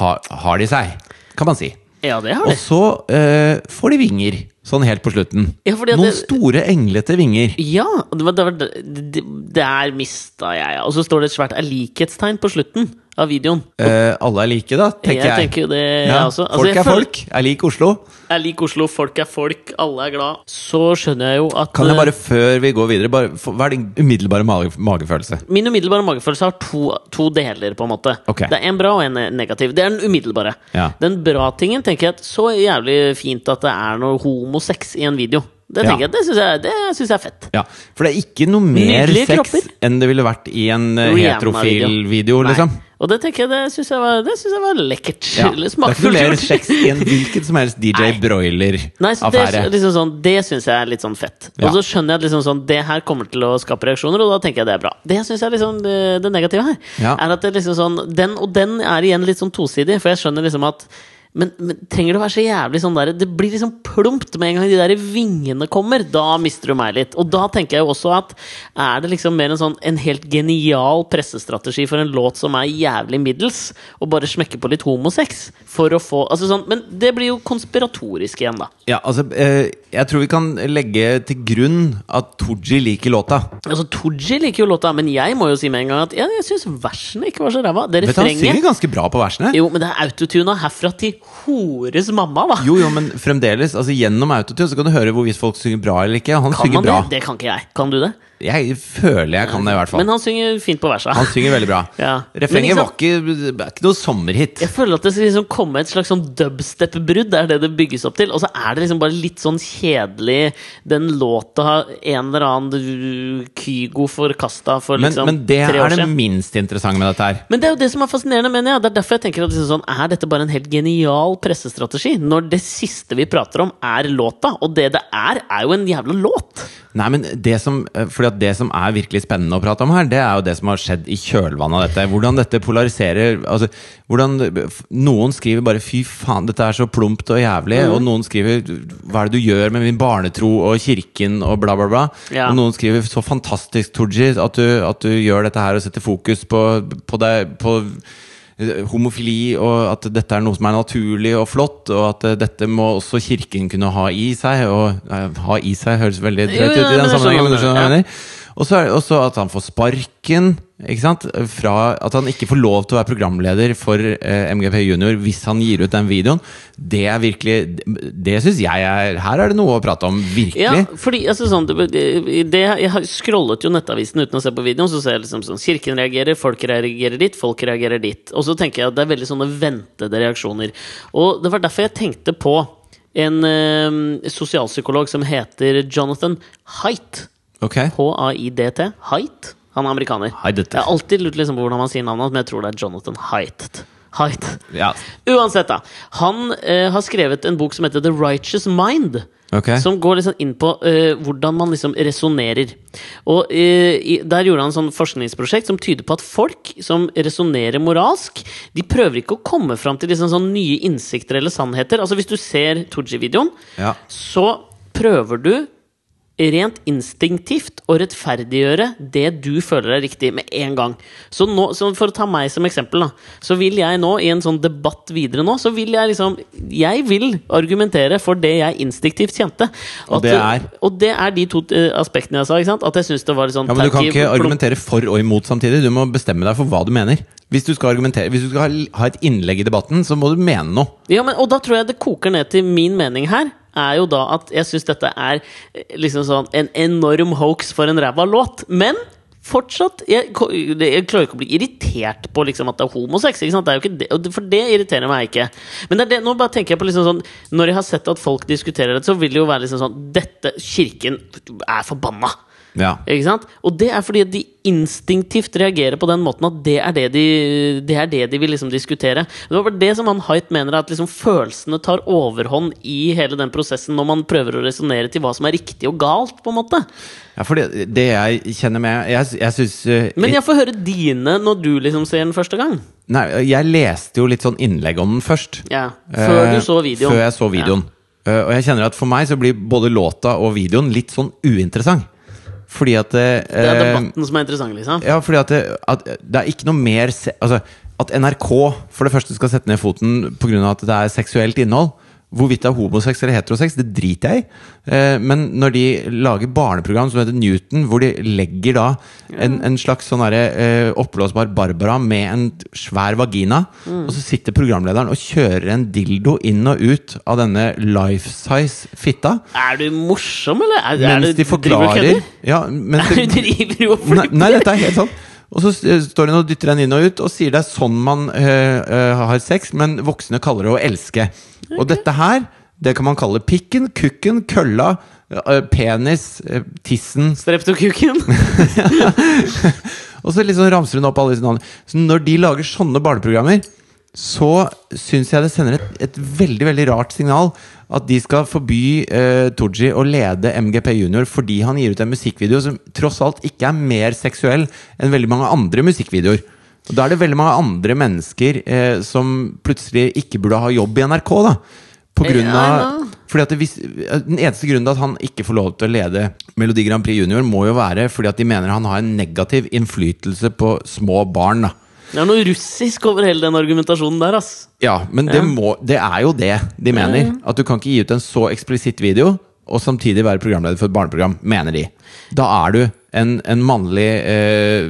Speaker 2: har, har de seg, kan man si.
Speaker 1: Ja, det har
Speaker 2: Og
Speaker 1: de.
Speaker 2: så eh, får de vinger, sånn helt på slutten.
Speaker 1: Ja, fordi at
Speaker 2: Noen
Speaker 1: det-
Speaker 2: store, englete vinger.
Speaker 1: Ja, og det, var- det, var- det, det der mista jeg. Og så står det et svært likhetstegn på slutten av videoen.
Speaker 2: Eh, alle er like, da, tenker
Speaker 1: Jeg,
Speaker 2: jeg.
Speaker 1: tenker jo det, jeg
Speaker 2: Ja,
Speaker 1: også. Altså,
Speaker 2: folk
Speaker 1: jeg
Speaker 2: er
Speaker 1: føler-
Speaker 2: folk. Jeg liker Oslo.
Speaker 1: Jeg liker Oslo, folk er folk, alle er glad. Så skjønner jeg jo at
Speaker 2: Kan jeg
Speaker 1: eh,
Speaker 2: bare, før vi går videre, bare, få- hva er din umiddelbare mage, magefølelse?
Speaker 1: Min umiddelbare magefølelse har to, to deler, på en måte.
Speaker 2: Ok.
Speaker 1: Det er en bra og en eh, negativ. Det er den umiddelbare.
Speaker 2: Ja.
Speaker 1: Den bra tingen tenker jeg at så jævlig fint at det er noe homosex i en video. Det
Speaker 2: Ja.
Speaker 1: tenker jeg, det syns jeg, det synes jeg er fett.
Speaker 2: Ja, For det er ikke noe mer
Speaker 1: Nydelige
Speaker 2: sex
Speaker 1: kropper.
Speaker 2: enn det ville vært i en eh,
Speaker 1: Rihanna-video.
Speaker 2: heterofil video,
Speaker 1: Nei.
Speaker 2: liksom.
Speaker 1: Og det tenker jeg, det syns jeg, var- det synes jeg var lekkert.
Speaker 2: Ja.
Speaker 1: Eller
Speaker 2: Det er ikke noe mer
Speaker 1: smakfullt.
Speaker 2: sex i en hvilken som helst DJ
Speaker 1: Nei. Nei, så det,
Speaker 2: Broiler-affære.
Speaker 1: liksom sånn, det syns jeg er litt sånn fett. Og
Speaker 2: Ja.
Speaker 1: så skjønner jeg at liksom sånn, det her kommer til å skape reaksjoner, og da tenker jeg det er bra. Det synes jeg er liksom det, det negative her.
Speaker 2: Ja.
Speaker 1: Er at det liksom sånn, Den og den er igjen litt sånn tosidig, for jeg skjønner liksom at men, men trenger det å være så jævlig sånn der Det blir liksom plumpt med en gang de der vingene kommer. Da mister du meg litt. Og da tenker jeg jo også at er det liksom mer en sånn en helt genial pressestrategi for en låt som er jævlig middels, å bare smekke på litt homosex for å få altså sånn, Men det blir jo konspiratorisk igjen, da.
Speaker 2: Ja, altså, eh, jeg tror vi kan legge til grunn at Tooji liker låta.
Speaker 1: Altså, Tooji liker jo låta, men jeg må jo si med en gang at jeg, jeg syns versene ikke var så ræva. Det
Speaker 2: Vet du, Han synger
Speaker 1: refrenget
Speaker 2: ganske bra på versene.
Speaker 1: Jo, men det er autotuna herfra til hores mamma, hva?
Speaker 2: Jo, jo, men fremdeles, altså gjennom autotune så kan du høre hvorvidt folk synger bra eller ikke. Han
Speaker 1: kan
Speaker 2: synger
Speaker 1: man
Speaker 2: bra.
Speaker 1: det? Det kan ikke jeg. Kan du det?
Speaker 2: Jeg føler jeg kan det, i hvert fall.
Speaker 1: Men han synger fint på versa.
Speaker 2: Han synger veldig bra.
Speaker 1: Ja. Men
Speaker 2: Refrenget
Speaker 1: ikke
Speaker 2: var ikke, det er ikke noe sommerhit.
Speaker 1: Jeg føler at det skal liksom komme et slags sånn dubstep-brudd. Det er det det bygges opp til. Og så er det liksom bare litt sånn kjedelig Den låta har en eller annen uh, Kygo forkasta for
Speaker 2: Men,
Speaker 1: liksom
Speaker 2: men det
Speaker 1: tre år
Speaker 2: er det
Speaker 1: siden.
Speaker 2: minst interessante med dette her.
Speaker 1: Men det er jo det som er fascinerende, mener jeg. Det er derfor jeg tenker at liksom sånn, Er dette bare en helt genial pressestrategi? Når det siste vi prater om, er låta. Og det det er, er jo en jævla låt!
Speaker 2: Nei, men det som, eh, fordi at det som er virkelig spennende å prate om her, det er jo det som har skjedd i kjølvannet av dette. Hvordan dette polariserer altså, hvordan, f- Noen skriver bare 'fy faen, dette er så plumpt og jævlig', og noen skriver 'hva er det du gjør med min barnetro og kirken' og bla, bla, bla.
Speaker 1: Ja.
Speaker 2: Og noen skriver 'så fantastisk, Tooji, at, du- at du gjør dette her og setter fokus på, på deg på eh, homofili, og at dette er noe som er naturlig og flott, og at eh, dette må også kirken kunne ha i seg. Og, eh, ha i seg høres veldig
Speaker 1: Jo, jo,
Speaker 2: drøyt ut i
Speaker 1: men
Speaker 2: den
Speaker 1: jeg skjønner
Speaker 2: sammenhengen.
Speaker 1: hva
Speaker 2: men
Speaker 1: du
Speaker 2: du skjønner hva
Speaker 1: mener,
Speaker 2: jeg mener. Og så er det også at han får sparken. Ikke sant? Fra at han ikke får lov til å være programleder for eh, MGP Junior hvis han gir ut den videoen. Det er virkelig Det syns jeg er Her er det noe å prate om,
Speaker 1: Ja,
Speaker 2: virkelig.
Speaker 1: fordi altså, sånn, det, det, Jeg har scrollet jo nettavisen uten å se på videoen, så ser jeg liksom sånn Kirken reagerer, folk reagerer dit, folk reagerer dit. Og så tenker jeg at det er veldig sånne ventede reaksjoner. Og det var derfor jeg tenkte på en eh, sosialpsykolog som heter Jonathan Haidt.
Speaker 2: Ok.
Speaker 1: H-A-I-D-T. Haidt. Han er amerikaner.
Speaker 2: Haidt.
Speaker 1: Jeg har alltid lurt liksom på hvordan man sier navnet hans, men jeg tror det er Jonathan Haidt. Haidt.
Speaker 2: Ja.
Speaker 1: Uansett, da. Han eh, har skrevet en bok som heter The Righteous Mind.
Speaker 2: Ok.
Speaker 1: Som går liksom inn på eh, hvordan man liksom resonnerer. Og eh, i- der gjorde han sånn forskningsprosjekt som tyder på at folk som resonnerer moralsk, de prøver ikke å komme fram til liksom sånn nye innsikter eller sannheter. Altså Hvis du ser Tooji-videoen,
Speaker 2: Ja.
Speaker 1: så prøver du rent instinktivt å rettferdiggjøre det du føler er riktig, med en gang. Så, nå, så for å ta meg som eksempel, da, så vil jeg nå, i en sånn debatt videre nå, så vil jeg liksom Jeg vil argumentere for det jeg instinktivt kjente.
Speaker 2: Og
Speaker 1: At-
Speaker 2: det er?
Speaker 1: Og det er de to eh, aspektene jeg sa, ikke sant? At jeg syns det var litt sånn
Speaker 2: Ja, men Du kan
Speaker 1: tacky,
Speaker 2: ikke
Speaker 1: plump-
Speaker 2: argumentere for og imot samtidig. Du må bestemme deg for hva du mener. Hvis du skal argumentere Hvis du skal ha- ha et innlegg i debatten, så må du mene noe.
Speaker 1: Ja, men, og da tror jeg det koker ned til min mening her. Er jo da at jeg syns dette er eh, liksom sånn en enorm hoax for en ræva låt. Men fortsatt Jeg, ko- jeg klarer ikke å bli irritert på liksom at det er homosex. Ikke sant? Det er jo ikke det, og det- for det irriterer meg ikke. Men det er det, nå bare tenker jeg på liksom sånn Når jeg har sett at folk diskuterer det, så vil det jo være liksom sånn Dette Kirken er forbanna!
Speaker 2: Ja.
Speaker 1: Ikke sant? Og det er fordi at de instinktivt reagerer på den måten at det er det de, det er det de vil liksom diskutere. Det var bare det som han Haidt mener, at liksom følelsene tar overhånd i hele den prosessen når man prøver å resonnere til hva som er riktig og galt. på en måte
Speaker 2: ja for det, det jeg kjenner med Jeg, jeg eh, syns
Speaker 1: Men jeg får høre dine når du liksom ser den første gang.
Speaker 2: Nei, jeg leste jo litt sånn innlegg om den først.
Speaker 1: Ja, Før
Speaker 2: Eh,
Speaker 1: du så videoen.
Speaker 2: Før jeg så videoen. Eh, og jeg kjenner at for meg så blir både låta og videoen litt sånn uinteressant. Fordi at eh,
Speaker 1: Ja. Det er debatten som er interessant, liksom.
Speaker 2: Ja, fordi at det, at det er ikke noe mer se altså, At NRK for det første skal sette ned foten pga. at det er seksuelt innhold. Hvorvidt det er homosex eller heterosex, det driter jeg i. Eh, men når de lager barneprogram som heter Newton, hvor de legger da en, en slags sånn derre, eh, oppblåsbar Barbara med en svær vagina,
Speaker 1: Mm.
Speaker 2: og så sitter programlederen og kjører en dildo inn og ut av denne life size fitta
Speaker 1: Er du morsom, eller? Er, er
Speaker 2: mens
Speaker 1: du,
Speaker 2: de forklarer
Speaker 1: driver du og kødder?
Speaker 2: ja, mens
Speaker 1: Er
Speaker 2: de-
Speaker 1: du driver jo og
Speaker 2: Nei,
Speaker 1: flytter?
Speaker 2: nei, dette er helt sant. Og så eh, står hun og dytter den inn og ut og sier det er sånn man eh, eh, har sex, men voksne kaller det å elske. Og dette her, det kan man kalle pikken, kukken, kølla, eh, penis, eh, tissen
Speaker 1: Streptokuken?
Speaker 2: Og så liksom ramser hun opp alle disse navnene. Så når de lager sånne barneprogrammer, så syns jeg det sender et, et veldig veldig rart signal at de skal forby eh, Tooji å lede MGP Junior fordi han gir ut en musikkvideo som tross alt ikke er mer seksuell enn veldig mange andre musikkvideoer. Og Da er det veldig mange andre mennesker eh, som plutselig ikke burde ha jobb i NRK. da på grunn
Speaker 1: Ja,
Speaker 2: av, fordi at det, hvis, den eneste grunnen til at han ikke får lov til å lede Melodi Grand Prix Junior, må jo være fordi at de mener han har en negativ innflytelse på små barn. Da.
Speaker 1: Det er noe russisk over hele den argumentasjonen der, ass.
Speaker 2: Ja, men det, må, det er jo det de mener. At du kan ikke gi ut en så eksplisitt video og samtidig være programleder for et barneprogram, mener de. Da er du en, en mannlig eh,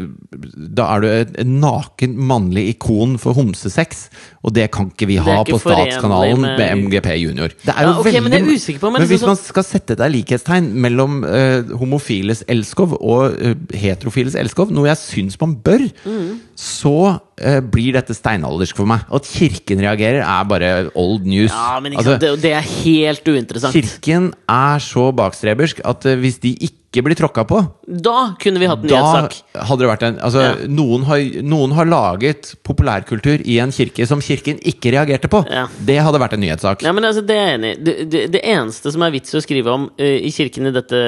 Speaker 2: Da er du et, et naken mannlig ikon for homsesex, og det kan ikke vi ha
Speaker 1: ikke
Speaker 2: på statskanalen
Speaker 1: forenlig
Speaker 2: med,
Speaker 1: med-
Speaker 2: MGP Junior. Det er
Speaker 1: Ja,
Speaker 2: jo
Speaker 1: ok,
Speaker 2: veldig
Speaker 1: men jeg er usikker på, men
Speaker 2: Men
Speaker 1: liksom
Speaker 2: hvis man skal sette et likhetstegn mellom eh, homofiles elskov og eh, heterofiles elskov, noe jeg syns man bør, så eh, blir dette steinaldersk for meg. At kirken reagerer, er bare old news.
Speaker 1: Ja, men ikke
Speaker 2: Altså,
Speaker 1: sant? Det, det er helt uinteressant.
Speaker 2: kirken er så bakstrebersk at eh, hvis de ikke blir tråkka på,
Speaker 1: Da kunne vi hatt en
Speaker 2: da
Speaker 1: nyhetssak.
Speaker 2: hadde det vært en Altså,
Speaker 1: Ja.
Speaker 2: noen, har, noen har laget populærkultur i en kirke som kirken ikke reagerte på.
Speaker 1: Ja.
Speaker 2: Det hadde vært en nyhetssak.
Speaker 1: Ja, men altså, det er jeg enig i. Det, det, det eneste som er vits å skrive om eh, i kirken i, dette,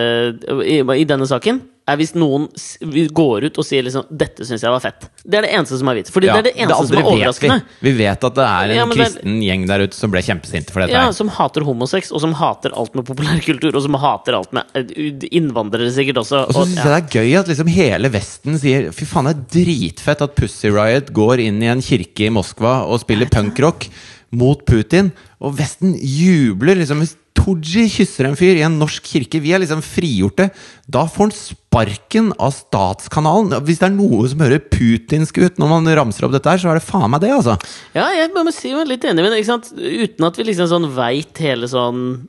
Speaker 1: i, i denne saken, er hvis noen s går ut og sier liksom 'Dette syns jeg var fett'. Det er det eneste som er vits. Fordi
Speaker 2: Ja,
Speaker 1: det er det eneste som er
Speaker 2: andre vet
Speaker 1: overraskende.
Speaker 2: Vi. vi vet at det er en
Speaker 1: Ja, men det-
Speaker 2: kristen gjeng der ute som ble kjempesinte for dette.
Speaker 1: Ja,
Speaker 2: her.
Speaker 1: Som hater homosex, og som hater alt med populærkultur, og som hater alt med eh, innvandrere sikkert også.
Speaker 2: og så syns
Speaker 1: ja.
Speaker 2: jeg det er gøy at liksom hele Vesten sier Fy faen, det er dritfett at Pussy Riot går inn i en kirke i Moskva og spiller punkrock mot Putin. Og Vesten jubler. liksom Hvis Tooji kysser en fyr i en norsk kirke, vi er liksom frigjorte, da får han sparken av statskanalen. Hvis det er noe som hører putinsk ut når man ramser opp dette her, så er det faen meg det, altså.
Speaker 1: Ja, jeg må si meg litt enig, men ikke sant? uten at vi liksom sånn veit hele sånn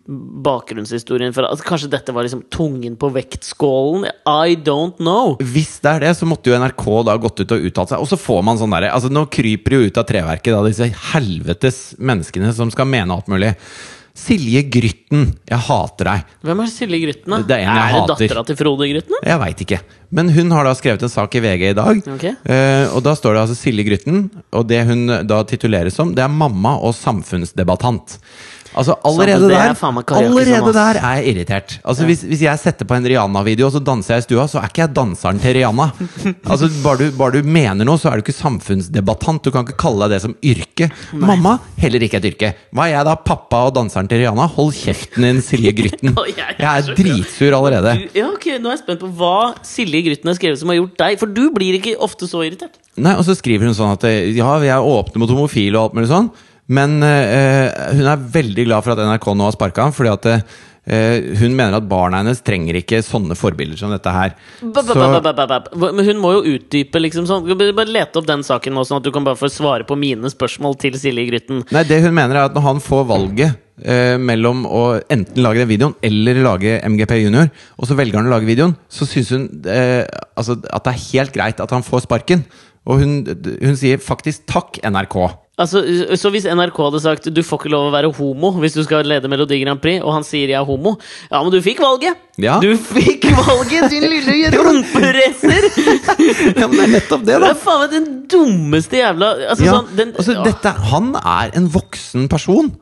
Speaker 1: bakgrunnshistorien for at Kanskje dette var liksom tungen på vektskålen? I don't know.
Speaker 2: Hvis det er det, så måtte jo NRK da gått ut og uttalt seg. Og så får man sånn derre Altså, nå kryper det jo ut av treverket, da, disse helvetes menneskene som skal mene alt mulig. Silje Grytten, jeg hater deg.
Speaker 1: Hvem er Silje Grytten, da?
Speaker 2: Det er en jeg hater.
Speaker 1: dattera til Frode Grytten? da?
Speaker 2: Jeg veit ikke. Men hun har da skrevet en sak i VG i dag.
Speaker 1: Ok.
Speaker 2: Eh, og da står det altså Silje Grytten, og det hun da tituleres som, det er mamma og samfunnsdebattant. Altså Allerede
Speaker 1: Samtidig, det er
Speaker 2: der
Speaker 1: faen meg karaoke som
Speaker 2: Allerede
Speaker 1: ass.
Speaker 2: der er jeg irritert. Altså hvis, hvis jeg setter på en Rihanna-video og så danser jeg i stua, så er ikke jeg danseren til Rihanna. Altså Bare du, bare du mener noe, så er du ikke samfunnsdebattant. Du kan ikke kalle deg det som yrke. Mamma heller ikke et yrke. Hva er jeg da, pappa og danseren til Rihanna? Hold kjeften din, Silje Grytten.
Speaker 1: Å, jeg er
Speaker 2: Jeg
Speaker 1: så
Speaker 2: er dritsur allerede.
Speaker 1: Du- Ja, ok, Nå er jeg spent på hva Silje Grytten har skrevet som har gjort deg For du blir ikke ofte så irritert.
Speaker 2: Nei, Og så skriver hun sånn at eh, ja, vi er åpne mot homofile og alt mulig sånn, men eh, hun er veldig glad for at NRK nå har sparka ham, fordi at eh, hun mener at barna hennes trenger ikke sånne forbilder som dette her.
Speaker 1: Ba, ba, ba, ba, ba, ba, ba. Hva- Men hun må jo utdype, liksom sånn. Du bør Bare lete opp den saken nå, sånn at du kan bare få svare på mine spørsmål til Silje Grytten.
Speaker 2: Nei, det hun mener er at når han får valget eh, mellom å enten lage den videoen eller lage MGP Junior, og så velger han å lage videoen, så syns hun eh, altså, at det er helt greit at han får sparken. Og hun, hun sier faktisk takk, NRK.
Speaker 1: Altså, så hvis NRK hadde sagt du får ikke lov å være homo hvis du skal lede Melodi Grand Prix, og han sier jeg er homo Ja, men du fikk valget!
Speaker 2: Ja.
Speaker 1: Du fikk valget, din lille rumperacer!
Speaker 2: Ja, men det er nettopp det,
Speaker 1: Det er faen meg den dummeste jævla altså,
Speaker 2: Ja,
Speaker 1: sånn, den,
Speaker 2: altså,
Speaker 1: Åh.
Speaker 2: dette, han er en voksen person.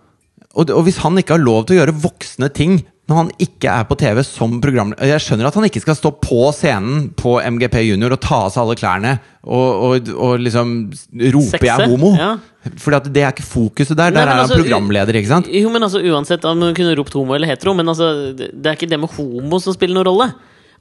Speaker 2: Og, det- og hvis han ikke har lov til å gjøre voksne ting når han ikke er på TV som programleder Jeg skjønner at han ikke skal stå på scenen på MGP Junior og ta av seg alle klærne og, og, og liksom rope 'jeg er
Speaker 1: Sexe,
Speaker 2: homo'.
Speaker 1: ja.
Speaker 2: Fordi at det er ikke fokuset der. Der
Speaker 1: men
Speaker 2: er han
Speaker 1: altså, u-
Speaker 2: programleder, ikke sant?
Speaker 1: Jo, men altså uansett om hun kunne ropt homo eller hetero, men altså, det det er ikke det med homo som spiller noen rolle.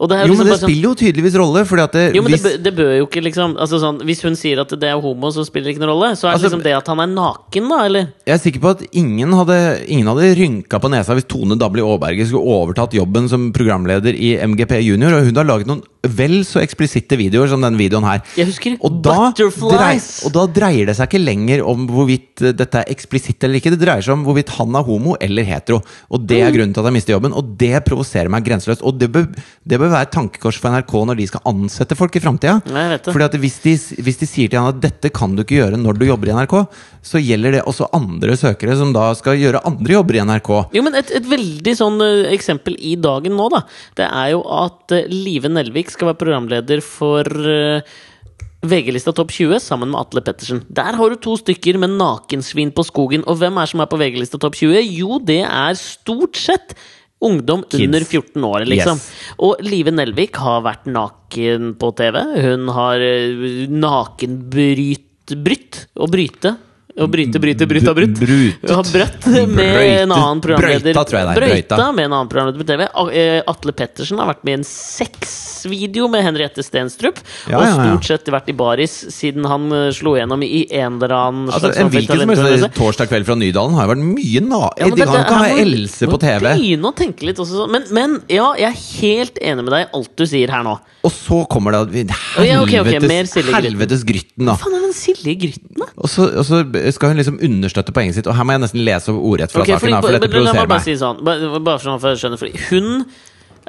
Speaker 1: Og det er
Speaker 2: Jo,
Speaker 1: liksom
Speaker 2: men det
Speaker 1: bare sånn-
Speaker 2: spiller jo tydeligvis rolle, fordi at det,
Speaker 1: jo, men
Speaker 2: hvis
Speaker 1: det, bø- det bør jo ikke liksom altså sånn, Hvis hun sier at det er homo, så spiller det ikke noen rolle. Så er det
Speaker 2: Altså,
Speaker 1: liksom det at han er naken, da, eller?
Speaker 2: Jeg er sikker på at ingen hadde, ingen hadde rynka på nesa hvis Tone Dabli Aaberge skulle overtatt jobben som programleder i MGP Junior, og hun har laget noen vel så eksplisitte videoer som den videoen her.
Speaker 1: Jeg husker
Speaker 2: Og da, drei,
Speaker 1: Butterflies!
Speaker 2: og da dreier det seg ikke lenger om hvorvidt eh, dette er eksplisitt eller ikke. Det dreier seg om hvorvidt han er homo eller hetero. Og det
Speaker 1: Mm.
Speaker 2: er grunnen til at jeg mister jobben, og det provoserer meg grenseløst. Og det bør, det bør være et tankekors for NRK når de skal ansette folk i framtida.
Speaker 1: Ja, jeg vet det.
Speaker 2: Fordi at hvis de, hvis de sier til han at dette kan du ikke gjøre når du jobber i NRK, så gjelder det også andre søkere som da skal gjøre andre jobber i NRK.
Speaker 1: Jo, men et, et veldig sånn eh, eksempel i dagen nå, da. Det er jo at eh, Live Nelvik skal være programleder for eh, VG-lista Topp 20 sammen med Atle Pettersen. Der har du to stykker med nakensvin på skogen. Og hvem er som er på VG-lista Topp 20? Jo, det er stort sett ungdom
Speaker 2: Kids.
Speaker 1: under 14 år, liksom.
Speaker 2: Yes.
Speaker 1: Og Live Nelvik har vært naken på TV. Hun har eh, nakenbryt Brytt og bryte. Og bryte, bryte, bryt og brutt.
Speaker 2: Brutet.
Speaker 1: Hun har brøtt med en annen programleder.
Speaker 2: Brøytet. Brøyta, tror jeg det er.
Speaker 1: Brøyta
Speaker 2: Brøyta.
Speaker 1: med en annen programleder på TV. A- eh, Atle Pettersen har vært med i en sexvideo med Henriette Stenstrup.
Speaker 2: Ja,
Speaker 1: og
Speaker 2: ja, ja.
Speaker 1: stort sett vært i baris siden han eh, slo gjennom i en eller annen
Speaker 2: Altså,
Speaker 1: slags
Speaker 2: en
Speaker 1: sånn
Speaker 2: hvilken som
Speaker 1: talentundervisning.
Speaker 2: helst torsdag kveld fra Nydalen har jo vært mye na...
Speaker 1: Ja, men
Speaker 2: de
Speaker 1: dette-
Speaker 2: kan
Speaker 1: her
Speaker 2: ikke ha
Speaker 1: må-
Speaker 2: Else på
Speaker 1: må
Speaker 2: TV.
Speaker 1: Begynne å tenke litt også sånn. Men, men ja, jeg er helt enig med deg i alt du sier her nå.
Speaker 2: Og så kommer det at vi-
Speaker 1: ja, ok, ok, mer
Speaker 2: helvetes,
Speaker 1: Silje Grytten.
Speaker 2: helvetes Grytten, da.
Speaker 1: Hva faen er den Silje Grytten, da?
Speaker 2: Og så, og så skal hun liksom understøtte poenget sitt. Og her må jeg nesten lese ordrett fra
Speaker 1: Ok,
Speaker 2: saken, da, for
Speaker 1: fordi-
Speaker 2: dette
Speaker 1: men la meg
Speaker 2: provoserer
Speaker 1: bare
Speaker 2: meg.
Speaker 1: si sånn, bare, bare sånn for å skjønne, fordi hun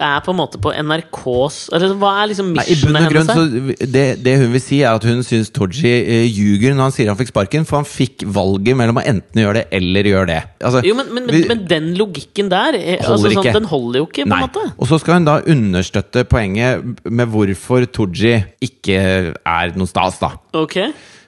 Speaker 1: er på en måte på NRKs eller Hva er liksom
Speaker 2: Nei, I bunn
Speaker 1: missionet
Speaker 2: og
Speaker 1: hennes?
Speaker 2: grunn,
Speaker 1: her?
Speaker 2: så det, det hun vil si, er at hun syns Tooji eh, ljuger når han sier han fikk sparken, for han fikk valget mellom å enten gjøre det eller gjøre det. Altså,
Speaker 1: Jo, men, men, men,
Speaker 2: vi-
Speaker 1: men den logikken der eh, altså,
Speaker 2: Holder
Speaker 1: sånn,
Speaker 2: ikke.
Speaker 1: Den holder jo ikke, på en
Speaker 2: Nei.
Speaker 1: måte.
Speaker 2: Og så skal hun da understøtte poenget med hvorfor Tooji ikke er noe stas, da.
Speaker 1: Ok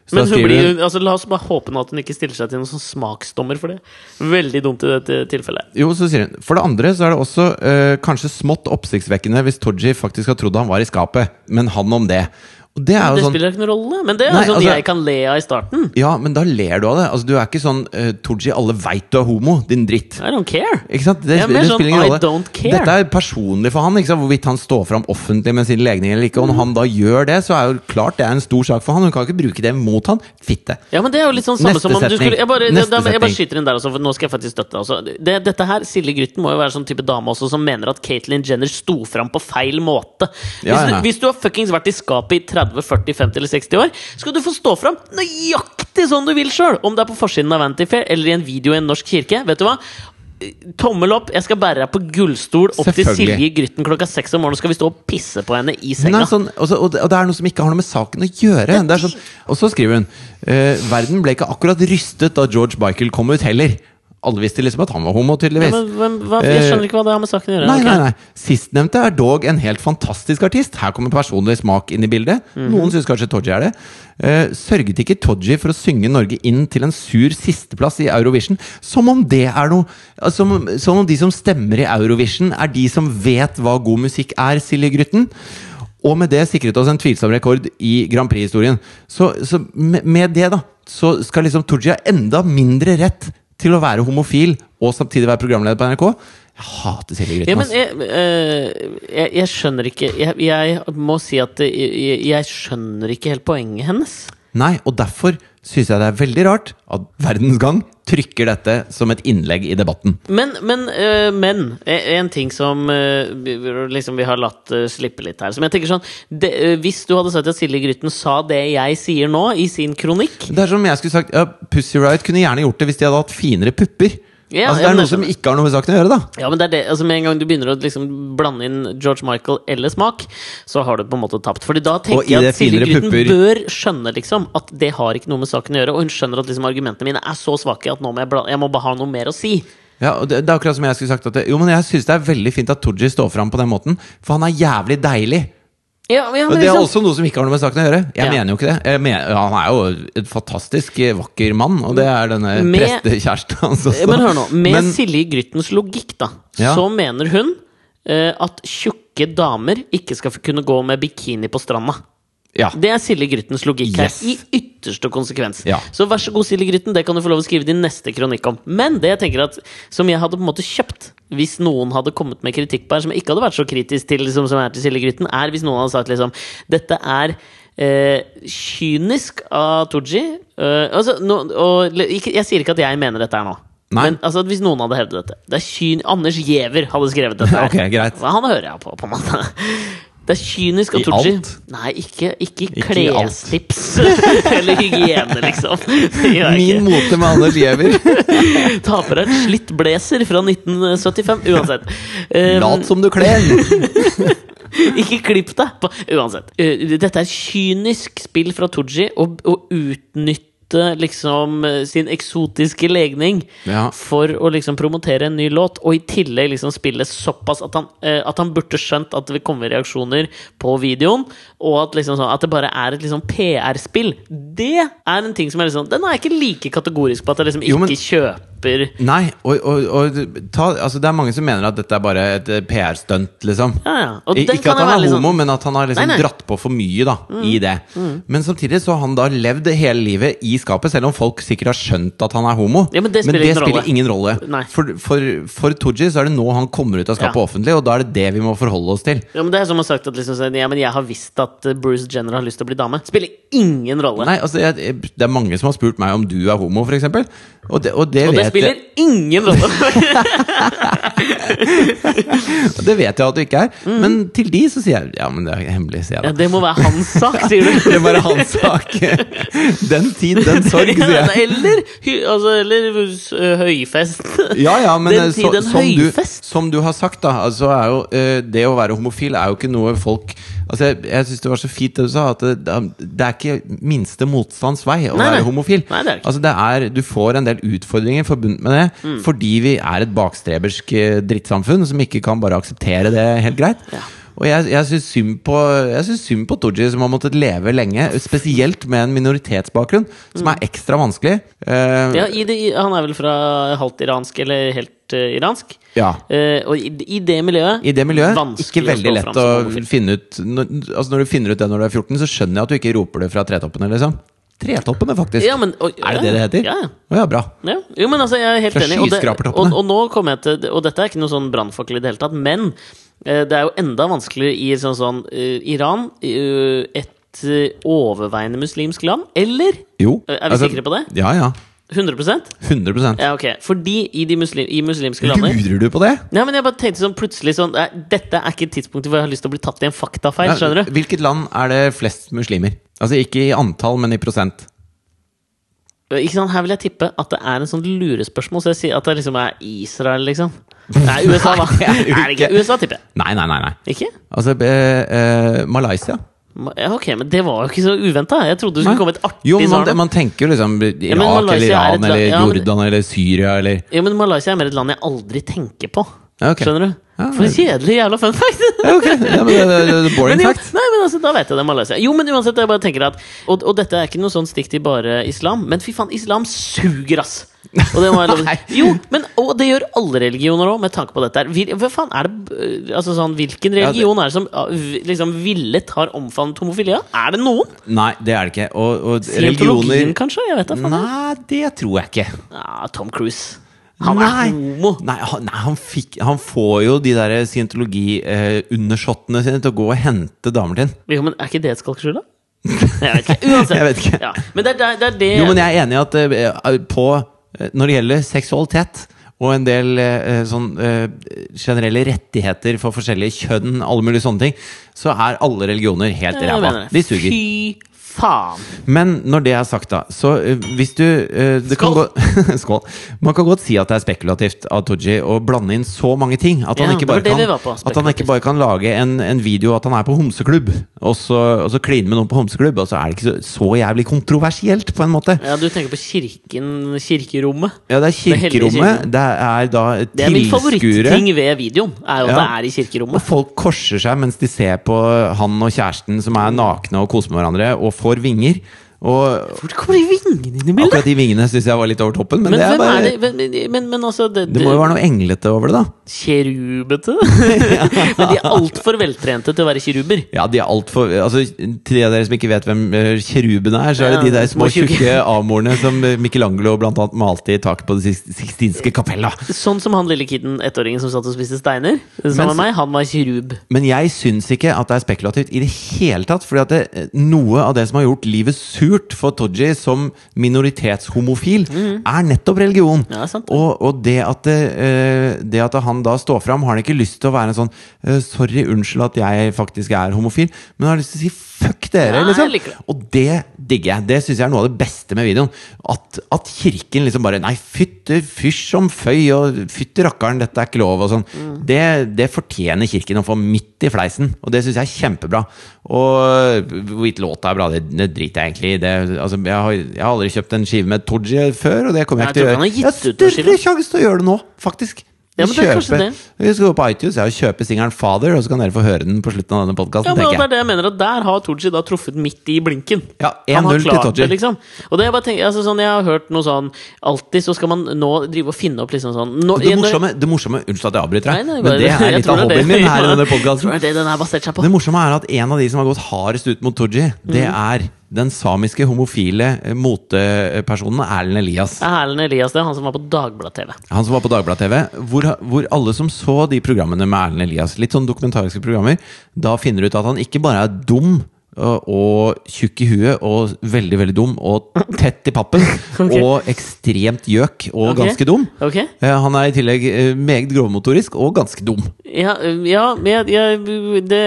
Speaker 2: Så
Speaker 1: men hun
Speaker 2: da skriver
Speaker 1: blir, altså, la oss bare håpe nå at hun ikke stiller seg til noen sånn smaksdommer for det. Veldig dumt i dette tilfellet.
Speaker 2: Jo, så sier hun For det andre så er det også eh, kanskje smått oppsiktsvekkende hvis Tooji faktisk har trodd han var i skapet, men han om det. Og det er
Speaker 1: Det
Speaker 2: jo sånn
Speaker 1: spiller ikke noen rolle, men det er
Speaker 2: Nei,
Speaker 1: sånn
Speaker 2: altså-
Speaker 1: jeg kan le av i starten.
Speaker 2: Ja, men da ler du av det. Altså, du er ikke sånn uh, Tooji, alle veit du er homo, din dritt.
Speaker 1: I don't care.
Speaker 2: Ikke sant? Det,
Speaker 1: Ja, mer
Speaker 2: det
Speaker 1: sånn,
Speaker 2: spiller ingen
Speaker 1: I
Speaker 2: rolle.
Speaker 1: don't care.
Speaker 2: Dette er personlig for han, ikke sant? hvorvidt han står fram offentlig med sin legning eller ikke. Og når han da gjør det, så er jo klart det er en stor sak for han. Hun kan ikke bruke det mot han. Fitte.
Speaker 1: Ja, men det er jo litt sånn samme
Speaker 2: Neste
Speaker 1: som om du
Speaker 2: setning.
Speaker 1: skulle jeg bare,
Speaker 2: Neste
Speaker 1: da, jeg bare
Speaker 2: setning.
Speaker 1: skyter inn der også, for nå skal jeg faktisk støtte deg også. Det, dette her, Silje Grytten må jo være sånn type dame også som mener at Caitlyn Jenner sto fram på feil måte. Hvis,
Speaker 2: Ja, ja.
Speaker 1: Du, hvis du har fuckings vært i skapet i 30, 40, 50 eller 60 år, skal du få stå fram nøyaktig sånn du vil sjøl! Om det er på forsiden av Vanity Fair eller i en video i en norsk kirke. Vet du hva? Tommel opp! Jeg skal bære deg på gullstol opp til
Speaker 2: Selvfølgelig.
Speaker 1: Silje Grytten klokka seks om morgenen. Skal vi stå og pisse på henne i
Speaker 2: Hun
Speaker 1: senga?
Speaker 2: er sånn, og, så, og det- og det er noe som ikke har noe med saken å gjøre. Det er sånn, og så skriver hun eh, Verden ble ikke akkurat rystet da George Michael kom ut heller. Alle visste liksom at han var homo,
Speaker 1: Ja,
Speaker 2: tydeligvis.
Speaker 1: men, hvem, hva, jeg skjønner ikke hva det har med saken å gjøre.
Speaker 2: Nei,
Speaker 1: ok?
Speaker 2: nei, nei. Sistnevnte er dog en helt fantastisk artist. Her kommer personlig smak inn i bildet.
Speaker 1: Mhm.
Speaker 2: Noen syns kanskje Todji er det. Eh, sørget ikke Todji for å synge Norge inn til en sur sisteplass i Eurovision? Som om det er noe altså, som, om- som om de som stemmer i Eurovision, er de som vet hva god musikk er, Silje Grytten. Og med det sikret oss en tvilsom rekord i Grand Prix-historien. Så, så med, med det, da, så skal liksom Tooji ha enda mindre rett til å være homofil og samtidig være programleder på NRK. Jeg hater Silje Grytten.
Speaker 1: Ja, men
Speaker 2: ass.
Speaker 1: jeg, eh, jeg, jeg skjønner ikke jeg, jeg må si at det- jeg, jeg skjønner ikke helt poenget hennes.
Speaker 2: Nei, og derfor syns jeg det er veldig rart at Verdens Gang trykker dette som et innlegg i debatten.
Speaker 1: Men, men, eh, men eh, en ting som eh, vi- vi- liksom vi har latt eh, slippe litt her Som jeg tenker sånn det, eh, Hvis du hadde sagt at Silje Grytten sa det jeg sier nå, i sin kronikk
Speaker 2: Det er som om jeg skulle sagt ja, Pussy Riot kunne gjerne gjort det hvis de hadde hatt finere pupper.
Speaker 1: Ja,
Speaker 2: altså,
Speaker 1: ja, men
Speaker 2: det er
Speaker 1: det
Speaker 2: noe som ikke har noe med saken å gjøre, da.
Speaker 1: Ja, men det er det altså Med en gang du begynner å liksom blande inn George Michael eller smak, så har du på en måte tapt. Fordi da
Speaker 2: Og
Speaker 1: tenker
Speaker 2: i
Speaker 1: jeg
Speaker 2: det
Speaker 1: at Silje
Speaker 2: finere
Speaker 1: Grytten
Speaker 2: pupper-
Speaker 1: bør skjønne liksom at det har ikke noe med saken å gjøre. Og hun skjønner at liksom argumentene mine er så svake at nå må jeg, bla jeg må bare ha noe mer å si.
Speaker 2: Ja, og det, det er akkurat som jeg skulle sagt at det, Jo, men jeg syns det er veldig fint at Tooji står fram på den måten, for han er jævlig deilig.
Speaker 1: Ja, ja,
Speaker 2: Og
Speaker 1: men
Speaker 2: det er
Speaker 1: liksom-
Speaker 2: også noe som ikke har noe med saken å gjøre. Jeg
Speaker 1: Ja.
Speaker 2: mener jo ikke det. Jeg mener, han er jo et fantastisk eh, vakker mann, og det er denne
Speaker 1: Med-
Speaker 2: prestekjæresten hans også.
Speaker 1: Men hør nå, med
Speaker 2: Men-
Speaker 1: Silje Gryttens logikk, da,
Speaker 2: Ja.
Speaker 1: så mener hun eh, at tjukke damer ikke skal få kunne gå med bikini på stranda.
Speaker 2: ja.
Speaker 1: Det er Silje Gryttens logikk
Speaker 2: Yes.
Speaker 1: her, i ytterste konsekvens.
Speaker 2: Ja.
Speaker 1: Så vær så god, Silje Grytten, det kan du få lov å skrive din neste kronikk om. Men det jeg tenker at, som jeg hadde på en måte kjøpt hvis noen hadde kommet med kritikk på her, som jeg ikke hadde vært så kritisk til, liksom, som jeg er til Silje Grytten, er hvis noen hadde sagt liksom Dette er eh, kynisk av Tooji. Eh, altså, nå- og, le- ikke, jeg sier ikke at jeg mener dette her nå.
Speaker 2: Nei.
Speaker 1: Men altså, hvis noen hadde hevdet dette det er kyn Anders Giæver hadde skrevet dette. her.
Speaker 2: Ok, greit.
Speaker 1: Han hører jeg på, på en måte. Det er kynisk av
Speaker 2: I
Speaker 1: Tooji.
Speaker 2: alt?
Speaker 1: Nei, ikke, ikke, i
Speaker 2: Ikke i alt.
Speaker 1: klestips eller hygiene, liksom. Det gjør jeg
Speaker 2: Min
Speaker 1: ikke.
Speaker 2: mote med Anders Giæver.
Speaker 1: Ta på deg et slitt blazer fra 1975. Uansett. Eh,
Speaker 2: Lat som du kler!
Speaker 1: ikke klipp deg! På, uansett. Eh, dette er kynisk spill fra Tooji å å utnytte liksom eh, sin eksotiske legning
Speaker 2: Ja.
Speaker 1: for å liksom promotere en ny låt, og i tillegg liksom spille såpass at han, eh, at han burde skjønt at det kommer reaksjoner på videoen, og at, liksom sånn, at det bare er et liksom PR-spill. Det er en ting som er liksom Den er jeg ikke like kategorisk på at jeg liksom
Speaker 2: Jo, men-
Speaker 1: ikke kjøper
Speaker 2: Nei, og, og, og ta, altså, det er mange som mener at dette er bare et eh, PR-stunt, liksom.
Speaker 1: Ja, ja. Og
Speaker 2: I-
Speaker 1: den
Speaker 2: Ikke
Speaker 1: kan
Speaker 2: at
Speaker 1: jeg
Speaker 2: han er
Speaker 1: være litt
Speaker 2: homo,
Speaker 1: sånn-
Speaker 2: men at han har liksom
Speaker 1: Nei, Mm. nei.
Speaker 2: dratt på for mye da, i det. Men samtidig så har han da levd hele livet i skapet, selv om folk sikkert har skjønt at han er homo.
Speaker 1: Ja, men det spiller ingen rolle.
Speaker 2: ingen rolle.
Speaker 1: Nei.
Speaker 2: For, for, for Tooji så er det nå han kommer ut av skapet
Speaker 1: Ja.
Speaker 2: offentlig, og da er det det vi må forholde oss til.
Speaker 1: Ja, men det er som å ha sagt at liksom, sånn, ja, men jeg har visst at eh, Bruce Jenner har lyst til å bli dame. Spiller ingen rolle.
Speaker 2: Nei, altså, jeg, jeg, det er mange som har spurt meg om du er homo, for eksempel. Og det, og det,
Speaker 1: og det
Speaker 2: vet
Speaker 1: spiller
Speaker 2: jeg,
Speaker 1: ingen rolle!
Speaker 2: det vet jeg at du ikke er. Men til de så sier jeg ja, men det er hemmelig, sier jeg da.
Speaker 1: ja, det må være hans sak, sier du.
Speaker 2: Det er bare hans sak. Den tid, den sorg, sier jeg.
Speaker 1: eller hy- altså, eller eh, høyfest.
Speaker 2: Ja, ja, men
Speaker 1: Den
Speaker 2: eh, så,
Speaker 1: tid, den
Speaker 2: som, du,
Speaker 1: høyfest.
Speaker 2: som du har sagt, da altså er jo, eh, Det å være homofil er jo ikke noe folk Altså, Jeg, jeg syns det var så fint det du sa, at det, det er ikke minste motstands vei å
Speaker 1: Nei, nei.
Speaker 2: være homofil.
Speaker 1: Nei, det er det ikke. Mm.
Speaker 2: altså, det er, du får en del utfordringer forbundet med det fordi vi er et bakstrebersk eh, drittsamfunn som ikke kan bare akseptere det helt greit. Og jeg, jeg syns synd på Jeg synes synd på Tooji, som har måttet leve lenge, spesielt med en minoritetsbakgrunn, som er ekstra vanskelig. Eh,
Speaker 1: Mm. Ja, i det, i- han er vel fra halvt iransk, eller helt eh, iransk.
Speaker 2: ja.
Speaker 1: Eh, og i, i det miljøet
Speaker 2: I det miljøet, ikke
Speaker 1: vanskelig
Speaker 2: veldig
Speaker 1: stå
Speaker 2: lett
Speaker 1: fram
Speaker 2: å
Speaker 1: som homofil.
Speaker 2: finne ut når, Altså Når du finner ut det når du er 14, så skjønner jeg at du ikke roper det fra tretoppene, liksom. Tretoppene, faktisk!
Speaker 1: Ja, men, og,
Speaker 2: er det det det heter?
Speaker 1: Ja, ja.
Speaker 2: Å ja, bra.
Speaker 1: Ja. Jo, men altså, jeg er helt
Speaker 2: Fra
Speaker 1: enig. Og, det,
Speaker 2: skyskrapertoppene.
Speaker 1: og, og nå kommer jeg til Og dette er ikke noe sånn brannfakkel i det hele tatt, men eh, det er jo enda vanskeligere i sånn, sånn eh, Iran, eh, et eh, overveiende muslimsk land, eller?
Speaker 2: Jo. Altså,
Speaker 1: Er vi sikre på det?
Speaker 2: Ja, ja.
Speaker 1: 100
Speaker 2: 100
Speaker 1: Ja, ok. Fordi i de muslim, i muslimske lander
Speaker 2: Lurer du på det?
Speaker 1: Nei, men jeg bare tenkte sånn plutselig sånn eh, Dette er ikke tidspunktet hvor jeg har lyst til å bli tatt i en faktafeil,
Speaker 2: Ja,
Speaker 1: skjønner du?
Speaker 2: Hvilket land er det flest muslimer? Altså ikke i antall, men i prosent.
Speaker 1: Ikke sant, Her vil jeg tippe at det er en sånn lurespørsmål, så jeg sier at det liksom er Israel, liksom. Nei, USA, da.
Speaker 2: Nei, det er jo
Speaker 1: Er det ikke
Speaker 2: ikke.
Speaker 1: USA, tipper jeg.
Speaker 2: Nei, nei, nei. nei
Speaker 1: Ikke?
Speaker 2: Altså eh, eh, Malaysia.
Speaker 1: Ja, ok, men det var jo ikke så uventa. Jeg trodde det skulle komme et artig
Speaker 2: Jo, man,
Speaker 1: svar. nå.
Speaker 2: man tenker jo liksom Irak
Speaker 1: men
Speaker 2: eller
Speaker 1: Malaysia er et
Speaker 2: Iran
Speaker 1: land-
Speaker 2: eller
Speaker 1: ja, men-
Speaker 2: Jordan eller Syria eller
Speaker 1: Jo, men Malaysia er mer et land jeg aldri tenker på.
Speaker 2: Ja, ok.
Speaker 1: Skjønner du?
Speaker 2: Ja,
Speaker 1: For
Speaker 2: vel.
Speaker 1: en kjedelig jævla fun fact!
Speaker 2: ja, ok. ja, men, det, det, det, Boring
Speaker 1: Men jo,
Speaker 2: fact.
Speaker 1: Nei, men altså, da vet jeg det er Malaysia. Jo, men uansett, jeg bare tenker at Og, og dette er ikke noe sånn stikk til bare islam, men fy faen, islam suger, ass! Og det må jeg lov
Speaker 2: Nei.
Speaker 1: Jo, men, og det gjør alle religioner òg, med tanke på dette her. Hvil- Hva faen er det øh, Altså sånn, Hvilken
Speaker 2: Ja, det-
Speaker 1: religion er det som ah, v- liksom villet har omfavnet homofilia? Er det noen?
Speaker 2: Nei, det er det ikke. Og, og
Speaker 1: Scientologien,
Speaker 2: religioner
Speaker 1: kanskje? Jeg vet da faen.
Speaker 2: Nei, det tror jeg ikke.
Speaker 1: Ja, Tom Cruise. Han
Speaker 2: Nei.
Speaker 1: er homo.
Speaker 2: Nei, han, nei, han, fikk, han får jo de der scientologi-undershottene sine til å gå og hente damer til ham.
Speaker 1: Jo, men er ikke det et skalkeskjul, da? Jeg vet ikke. Uansett.
Speaker 2: Jeg vet ikke.
Speaker 1: Ja. Men det er det, er det
Speaker 2: Jo, men jeg er enig i at eh, på, eh, når det gjelder seksualitet og en del eh, sånn eh, generelle rettigheter for forskjellige kjønn, alle mulige sånne ting, så er alle religioner helt
Speaker 1: Jeg
Speaker 2: ræva.
Speaker 1: mener det.
Speaker 2: De suger.
Speaker 1: Fy faen!
Speaker 2: Men når det er sagt, da, så eh, hvis du eh, det kan
Speaker 1: Skål.
Speaker 2: gå, Skål. Man kan godt si at det er spekulativt av Tooji å blande inn så mange ting at han,
Speaker 1: Ja, det
Speaker 2: ikke,
Speaker 1: var
Speaker 2: bare
Speaker 1: det vi var
Speaker 2: kan,
Speaker 1: på,
Speaker 2: at han ikke bare kan lage en, en video at han er på homseklubb, og så, og så kline med noen på homseklubb, og så er det ikke så, så jævlig kontroversielt, på en måte.
Speaker 1: Ja, du tenker på kirken, kirkerommet.
Speaker 2: Ja, det
Speaker 1: Det
Speaker 2: er
Speaker 1: hellige
Speaker 2: kirkerommet.
Speaker 1: kirkerommet.
Speaker 2: Det er da
Speaker 1: Det er min
Speaker 2: tilskuere.
Speaker 1: favoritting ved videoen. Er jo at
Speaker 2: Ja.
Speaker 1: det er i
Speaker 2: Og
Speaker 1: kirkerommet.
Speaker 2: folk korser seg mens de ser på han og kjæresten som er nakne og koser med hverandre, og får vinger. Og
Speaker 1: Hvor kommer de vingene inn i bildet?
Speaker 2: akkurat de vingene syns jeg var litt over toppen, men,
Speaker 1: Men
Speaker 2: det, er
Speaker 1: hvem
Speaker 2: bare,
Speaker 1: er det
Speaker 2: det?
Speaker 1: Men, men- men, men altså det,
Speaker 2: må jo være noe englete over det, da.
Speaker 1: Kjerubete? men de er altfor veltrente til å være kiruber.
Speaker 2: Ja, de er alt for, altså, Til de av dere som ikke vet hvem eh, kjerubene er, så er det
Speaker 1: Ja,
Speaker 2: de der små,
Speaker 1: små tjukke.
Speaker 2: tjukke amorene som eh, Michelangelo blant annet malte i taket på Det Six- Sixtinske kapella.
Speaker 1: Sånn som han lille kiden, ettåringen som satt og spiste steiner. Sammen med meg, han var kirub.
Speaker 2: Men jeg syns ikke at det er spekulativt i det hele tatt. fordi at det, eh, noe av det som har gjort livet surt for Tooji som minoritetshomofil, Mm. er nettopp religion.
Speaker 1: Ja, sant.
Speaker 2: Og, og det, at det, eh, det at han da står fram, har han ikke lyst til å være en sånn eh, Sorry, unnskyld at jeg faktisk er homofil, men han har lyst til å si fuck dere,
Speaker 1: Ja, jeg
Speaker 2: liksom.
Speaker 1: liker det.
Speaker 2: Og det digger jeg. Det syns jeg er noe av det beste med videoen. At, at kirken liksom bare Nei, fytte fysj om føy, og fytte rakkeren, dette er ikke lov, og sånn.
Speaker 1: Mm.
Speaker 2: Det, det fortjener kirken å få midt i fleisen, og det syns jeg er kjempebra. Og hvorvidt låta er bra, det, det driter jeg egentlig i. Det, altså, jeg, har, jeg har aldri kjøpt en skive med Tooji før, og det kommer
Speaker 1: Jeg
Speaker 2: jeg ikke til
Speaker 1: tror
Speaker 2: å
Speaker 1: han
Speaker 2: gjøre.
Speaker 1: har
Speaker 2: Jeg har
Speaker 1: gitt ut noen
Speaker 2: større sjanse til å gjøre det nå, faktisk.
Speaker 1: Ja, men det er kanskje det.
Speaker 2: Vi skal gå på iTunes jeg, og kjøpe singelen 'Father', og så kan dere få høre den på slutten av denne podkasten.
Speaker 1: Ja, men det er det jeg mener at Der har Tooji da truffet midt i blinken.
Speaker 2: Ja,
Speaker 1: Han har
Speaker 2: 1-0 til
Speaker 1: klart
Speaker 2: Tooji.
Speaker 1: det, Liksom. Og det er bare tenker, altså, sånn, Jeg har hørt noe sånn Alltid så skal man nå drive og finne opp liksom sånn nå,
Speaker 2: Og Det morsomme, det morsomme Unnskyld at jeg avbryter
Speaker 1: Nei,
Speaker 2: deg,
Speaker 1: nei,
Speaker 2: men
Speaker 1: bare-
Speaker 2: det er
Speaker 1: jeg
Speaker 2: litt
Speaker 1: tror
Speaker 2: av
Speaker 1: det er
Speaker 2: hobbyen
Speaker 1: det-
Speaker 2: min her i denne
Speaker 1: Jeg tror
Speaker 2: podkasten.
Speaker 1: det er det den er basert seg på.
Speaker 2: Det morsomme er at en av de som har gått hardest ut mot Tooji, det
Speaker 1: Mm.
Speaker 2: er den samiske homofile eh, motepersonen Erlend Elias.
Speaker 1: Det er Erlend Elias, det er han som var på Dagblad-TV.
Speaker 2: Han som var på Dagbladet TV, hvor, hvor alle som så de programmene med Erlend Elias, litt sånn dokumentariske programmer, da finner ut at han ikke bare er dum og, og tjukk i huet og veldig, veldig dum og tett i pappen
Speaker 1: Ok.
Speaker 2: og ekstremt gjøk og
Speaker 1: Ok.
Speaker 2: ganske dum.
Speaker 1: Ok?
Speaker 2: Eh, Han er i tillegg eh, meget grovmotorisk og ganske dum.
Speaker 1: Ja, øh, ja men jeg, jeg, det,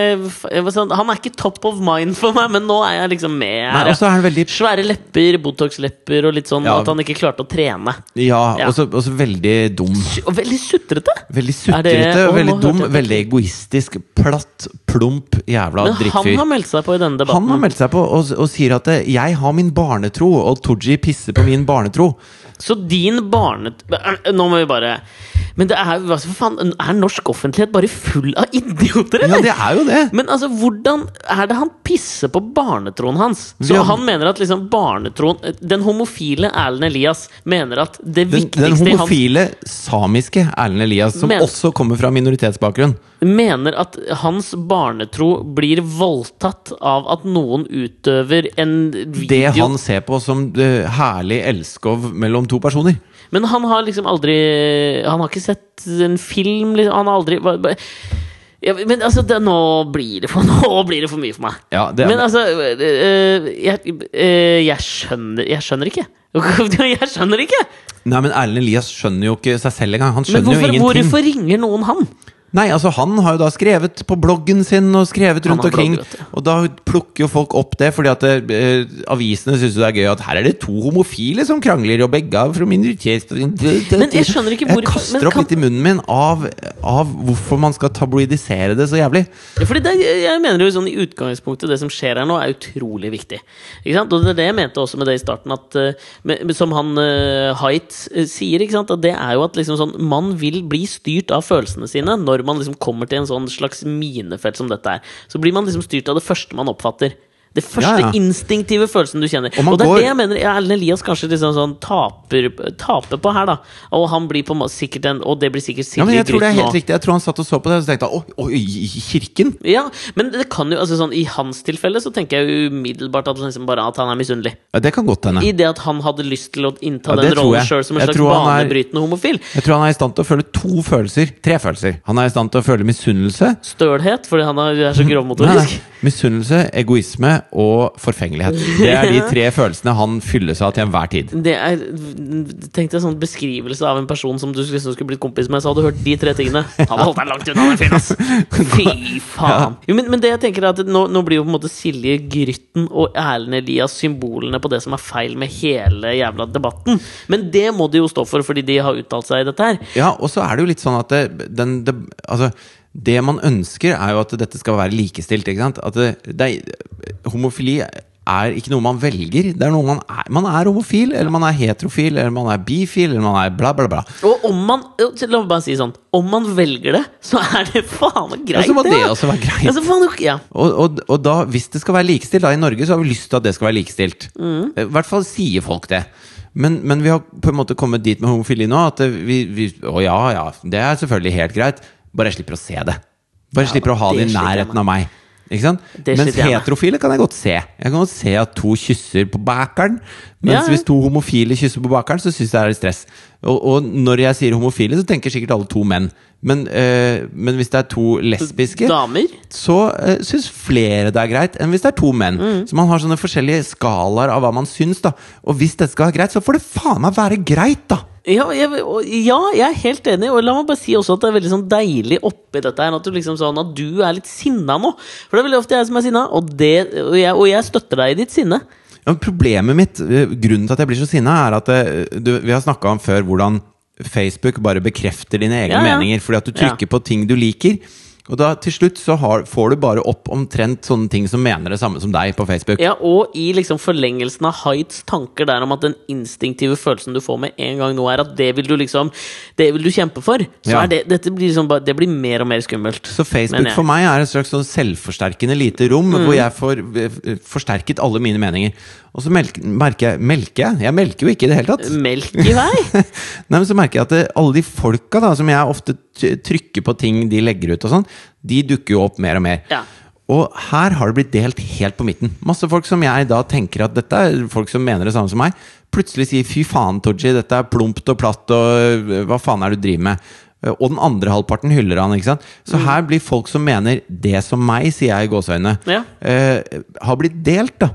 Speaker 1: jeg var sånn, Han er ikke top of mind for meg, men nå er jeg liksom med
Speaker 2: Nei,
Speaker 1: her.
Speaker 2: og så er han veldig
Speaker 1: Svære lepper, Botox-lepper og litt sånn
Speaker 2: Ja.
Speaker 1: at han ikke klarte å trene.
Speaker 2: Ja,
Speaker 1: Ja.
Speaker 2: og så og så veldig dum.
Speaker 1: Og veldig sutrete!
Speaker 2: Veldig
Speaker 1: Er det-
Speaker 2: sutrete,
Speaker 1: Å, nå
Speaker 2: veldig
Speaker 1: hørte
Speaker 2: dum,
Speaker 1: jeg på-
Speaker 2: veldig egoistisk, platt, plump, jævla
Speaker 1: Men han
Speaker 2: drittfyr.
Speaker 1: har meldt seg på i denne
Speaker 2: Han
Speaker 1: debatten.
Speaker 2: har meldt seg på og, og sier at eh, 'jeg har min barnetro', og Tooji pisser på min barnetro.
Speaker 1: Så din barne... Nå må vi bare Men det er jo altså, for faen, er norsk offentlighet bare full av idioter,
Speaker 2: Ja,
Speaker 1: eller?
Speaker 2: det er jo det!
Speaker 1: Men altså, hvordan er det han pisser på barnetroen hans? Så
Speaker 2: Vi har-
Speaker 1: han mener at liksom barnetroen Den homofile Erlend Elias mener at det
Speaker 2: Den, den
Speaker 1: viktigste i hans
Speaker 2: homofile samiske Erlend Elias, som
Speaker 1: Men-
Speaker 2: også kommer fra minoritetsbakgrunn.
Speaker 1: Mener at hans barnetro blir voldtatt av at noen utøver en video
Speaker 2: Det han ser på som eh, herlig elskov mellom to personer.
Speaker 1: Men han har liksom aldri Han har ikke sett en film liksom. Han har aldri bare- bare- ja, Men altså, det, nå, blir det for, nå blir det for mye for meg.
Speaker 2: Ja, det er-
Speaker 1: men altså øh, jeg, øh, jeg skjønner Jeg skjønner ikke. Jeg skjønner ikke!
Speaker 2: Nei, men Erlend Elias skjønner jo ikke seg selv engang. Han
Speaker 1: Men
Speaker 2: skjønner jo
Speaker 1: hvorfor,
Speaker 2: ingenting.
Speaker 1: hvorfor ringer noen han?
Speaker 2: Nei, altså han har jo da skrevet på bloggen sin og skrevet
Speaker 1: Han
Speaker 2: rundt
Speaker 1: har
Speaker 2: omkring.
Speaker 1: blogg, vet du.
Speaker 2: og da plukker jo folk opp det, fordi at eh, avisene syns jo det er gøy at her er det to homofile som krangler, og begge er fra minoritet Men
Speaker 1: jeg skjønner ikke hvor-
Speaker 2: Jeg kaster
Speaker 1: men
Speaker 2: opp
Speaker 1: kan-
Speaker 2: litt i munnen min av, av hvorfor man skal tabloidisere det så jævlig.
Speaker 1: Fordi det, jeg mener jo sånn i utgangspunktet Det som skjer her nå er utrolig viktig Ikke sant? Og det er det jeg mente også med det i starten at, eh, med, med- Som han eh, Haidt eh, sier ikke sant? At det er jo at liksom sånn, man vil bli styrt av følelsene sine Når man liksom kommer til en sånn slags minefelt som dette er Så blir man liksom styrt av det første man oppfatter det første
Speaker 2: Ja, ja.
Speaker 1: instinktive følelsen du kjenner Og,
Speaker 2: Og man
Speaker 1: det er
Speaker 2: går-
Speaker 1: det jeg mener ja, Erlend Elias kanskje liksom sånn taper, taper på her da Og han blir på en måte sikkert en Og det blir sikkert
Speaker 2: Ja,
Speaker 1: Sigrid
Speaker 2: men jeg tror det er
Speaker 1: Grytten
Speaker 2: helt
Speaker 1: også.
Speaker 2: riktig. Jeg tror han satt og så på det og så tenkte han, å, å, kirken?
Speaker 1: Ja, men det kan jo, altså sånn, i hans tilfelle så tenker jeg umiddelbart at, liksom bare at han er misunnelig.
Speaker 2: Ja, det kan godt hende.
Speaker 1: I det at han hadde lyst til å innta
Speaker 2: Ja, det
Speaker 1: den
Speaker 2: tror
Speaker 1: rollen
Speaker 2: jeg.
Speaker 1: sjøl som en
Speaker 2: Jeg
Speaker 1: slags
Speaker 2: tror han er-
Speaker 1: banebrytende homofil.
Speaker 2: Jeg tror han er i stand til å føle to følelser. Tre følelser. Han er i stand til å føle misunnelse.
Speaker 1: Stølhet, fordi han er, er så
Speaker 2: Mhm. Nei,
Speaker 1: grovmotorisk.
Speaker 2: nei. Misunnelse, egoisme og forfengelighet. Det er de tre følelsene han fyller seg av til enhver tid.
Speaker 1: Det er, Tenk deg en sånn beskrivelse av en person som du liksom skulle blitt kompis med, så hadde du hørt de tre tingene. Han hadde holdt deg langt unna den fyren, ass! Fy faen! Jo, men, men det jeg tenker er at nå, nå blir jo på en måte Silje Grytten og Erlend Elias symbolene på det som er feil med hele jævla debatten. Men det må de jo stå for, fordi de har uttalt seg i dette her.
Speaker 2: Ja, og så er det jo litt sånn at det, den, det, altså, det man ønsker, er jo at dette skal være likestilt. Ikke sant? At det, det er, homofili er ikke noe man velger. Det er noe man er. Man er homofil, eller man er heterofil, eller man er bifil, eller man er bla, bla, bla.
Speaker 1: Og om man jo, La meg bare si sånn Om man velger det, så er det faen meg greit,
Speaker 2: Ja, så må det
Speaker 1: ja.
Speaker 2: også være greit.
Speaker 1: Ja, så faen, ok, ja.
Speaker 2: Og, og, og da, hvis det skal være likestilt da, i Norge, så har vi lyst til at det skal være likestilt.
Speaker 1: Mm.
Speaker 2: Eh, I hvert fall sier folk det. Men, men vi har på en måte kommet dit med homofili nå at det- vi, vi Å ja, ja, det er selvfølgelig helt greit. Bare jeg slipper å se det. Bare jeg slipper å ha
Speaker 1: det
Speaker 2: det i
Speaker 1: sliter jeg med.
Speaker 2: nærheten av meg. Ikke sant?
Speaker 1: Det
Speaker 2: Mens
Speaker 1: sliter jeg med.
Speaker 2: heterofile kan jeg godt se. Jeg kan godt se at to kysser på bakeren. Mens
Speaker 1: Ja, ja.
Speaker 2: hvis to homofile kysser på bakeren, så syns jeg det er litt stress. Og, og når jeg sier homofile, så tenker sikkert alle to menn. Men, eh, men hvis det er to lesbiske
Speaker 1: Damer?
Speaker 2: så uh, syns flere det er greit enn hvis det er to menn.
Speaker 1: Mm.
Speaker 2: Så man har sånne forskjellige skalaer av hva man syns, da. Og hvis dette skal være greit, så får det faen meg være greit, da!
Speaker 1: Ja, jeg, og- ja, jeg er helt enig. Og la meg bare si også at det er veldig sånn deilig oppi dette her. At du liksom sånn at du er litt sinna nå. For det er veldig ofte jeg som er sinna, og, det, og, jeg, og jeg støtter deg i ditt sinne.
Speaker 2: Ja, men problemet mitt, eh, grunnen til at jeg blir så sinna, er at eh, du, vi har snakka om før hvordan Facebook bare bekrefter dine egne
Speaker 1: Ja, ja.
Speaker 2: meninger, fordi at du
Speaker 1: Ja.
Speaker 2: trykker på ting du liker. Og da til slutt så har, får du bare opp omtrent sånne ting som mener det samme som deg på Facebook.
Speaker 1: Ja, Og i liksom forlengelsen av Haids tanker der om at den instinktive følelsen du får med en gang nå, er at det vil du liksom Det vil du kjempe for. Så
Speaker 2: Ja.
Speaker 1: er det, dette blir liksom bare, det blir mer og mer skummelt.
Speaker 2: Så Facebook
Speaker 1: mener jeg. Mm.
Speaker 2: for meg er et slags sånn selvforsterkende lite rom hvor jeg får eh, forsterket alle mine meninger. Og så melk, merker jeg Melker jeg? Jeg melker jo ikke i det hele tatt.
Speaker 1: Melk i vei!
Speaker 2: Nei, men så merker jeg at eh, alle de folka da, som jeg ofte t- trykker på ting de legger ut og sånn, de dukker jo opp mer og mer.
Speaker 1: Ja.
Speaker 2: Og her har det blitt delt helt på midten. Masse folk som jeg da tenker at dette er folk som mener det samme som meg, plutselig sier fy faen, Tooji, dette er plumpt og platt og øh, hva faen er det du driver med? Øh, Og den andre halvparten hyller han. ikke sant? Så her blir folk som mener det som meg, sier jeg i gåseøynene,
Speaker 1: Ja.
Speaker 2: øh, har blitt delt. da.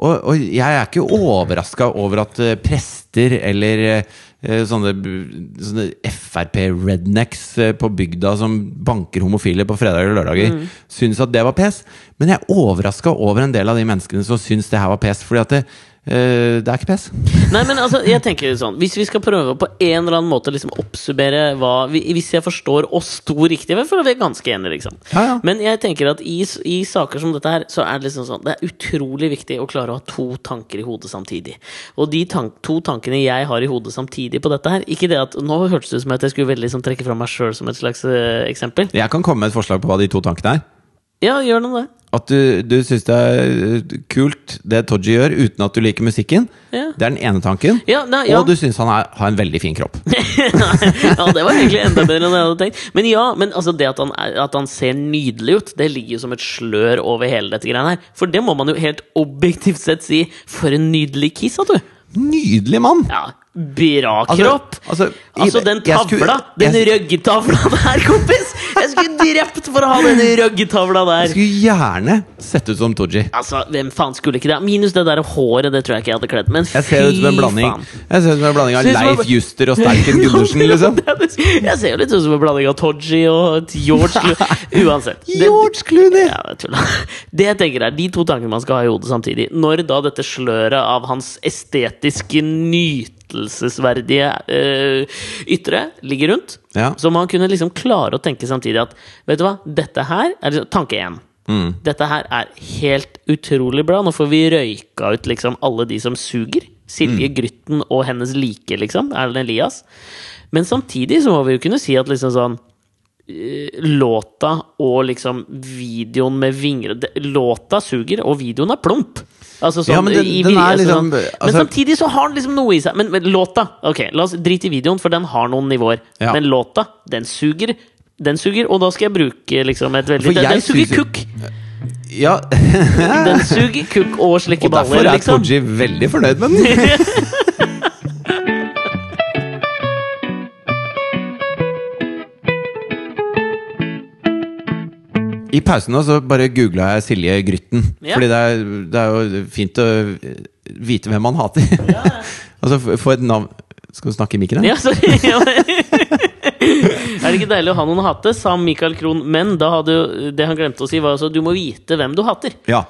Speaker 2: Og, og jeg er ikke overraska over at øh, prester eller øh, sånne, b- sånne Frp-rednecks øh, på bygda som banker homofile på fredager og lørdager,
Speaker 1: Mm.
Speaker 2: syns at det var pes. Men jeg er overraska over en del av de menneskene som syns det her var pes. Fordi at det, øh, det er ikke pes.
Speaker 1: Nei, men altså, jeg tenker sånn Hvis vi skal prøve på en eller annen måte liksom oppsummere hva vi, Hvis jeg forstår oss to riktig, vel, for vi er ganske enige, liksom.
Speaker 2: Ja, ja.
Speaker 1: Men jeg tenker at i, s- i saker som dette her, så er det liksom sånn Det er utrolig viktig å klare å ha to tanker i hodet samtidig. Og de tank, to tankene jeg har i hodet samtidig på dette her Ikke det at Nå hørtes det ut som at jeg skulle veldig liksom, trekke fram meg sjøl som et slags eh, eksempel.
Speaker 2: Jeg kan komme med et forslag på hva de to tankene er.
Speaker 1: Ja, gjør nå det.
Speaker 2: At du, du syns det er øh, kult det Todgy gjør, uten at du liker musikken.
Speaker 1: Ja.
Speaker 2: Det er den ene tanken.
Speaker 1: Ja, nei, ja.
Speaker 2: Og du syns han er, har en veldig fin kropp.
Speaker 1: ja, det var egentlig enda bedre enn jeg hadde tenkt. Men ja, men altså det at han, er, at han ser nydelig ut, det ligger jo som et slør over hele dette greiene her. For det må man jo helt objektivt sett si. For en nydelig kiss, sa du!
Speaker 2: Nydelig mann!
Speaker 1: Ja, bra
Speaker 2: Altså,
Speaker 1: kropp! Altså,
Speaker 2: altså, i-
Speaker 1: den
Speaker 2: jeg
Speaker 1: tavla,
Speaker 2: skulle-
Speaker 1: den
Speaker 2: jeg-
Speaker 1: røggetavla der, kompis! Jeg skulle drept for å ha den røggetavla der!
Speaker 2: Skulle gjerne sett ut som Tooji.
Speaker 1: Altså, Hvem faen skulle ikke det? Minus det der håret, det tror jeg ikke jeg hadde kledd. Men
Speaker 2: Jeg ser ut som en blanding Jeg ser ut som en blanding av
Speaker 1: Ser ut som en-
Speaker 2: Leif Juster og Sterken Gundersen, liksom.
Speaker 1: Jeg ser jo litt ut som en blanding av Todgy og George. Clo- Uansett. Det-
Speaker 2: George Clooney!
Speaker 1: Ja, det er tull. Det jeg tenker er de to tankene man skal ha i hodet samtidig. Når da dette sløret av hans estetiske nytelsesverdige eh, ytre ligger rundt,
Speaker 2: Ja.
Speaker 1: så må han kunne liksom klare å tenke samtidig at Vet du hva, dette her er liksom, tanke én. Dette her er helt utrolig bra. Nå får vi røyka ut liksom alle de som suger. Silje Grytten og hennes like, liksom. Erlend Elias. Men samtidig så må vi jo kunne si at liksom sånn eh, låta og liksom videoen med vinger det- Låta suger, og videoen er plump. Altså sånn,
Speaker 2: Ja, men den-
Speaker 1: i,
Speaker 2: den er
Speaker 1: altså sånn.
Speaker 2: liksom-
Speaker 1: Men
Speaker 2: altså-
Speaker 1: samtidig så har den liksom noe i seg. Men, men låta Ok, la oss drite i videoen, for den har noen nivåer.
Speaker 2: Ja.
Speaker 1: Men låta, den suger. Den suger, og da skal jeg bruke liksom et veldig
Speaker 2: For
Speaker 1: Den,
Speaker 2: jeg
Speaker 1: den suger
Speaker 2: synes-
Speaker 1: kukk!
Speaker 2: Ja,
Speaker 1: Den suger kukk og slikker
Speaker 2: og derfor
Speaker 1: baller,
Speaker 2: er
Speaker 1: liksom.
Speaker 2: Tooji veldig fornøyd med den. I pausen nå så bare googla jeg Silje Grytten.
Speaker 1: Ja.
Speaker 2: Fordi det er, det er jo fint å eh, vite hvem man hater. altså f- få et navn Skal du snakke i mikroen?
Speaker 1: Ja, sorry. Ja, men- er det ikke deilig å ha noen å hate, sa Michael Krohn. Men da hadde jo, det han glemte å si, var altså du må vite hvem du hater.
Speaker 2: Ja.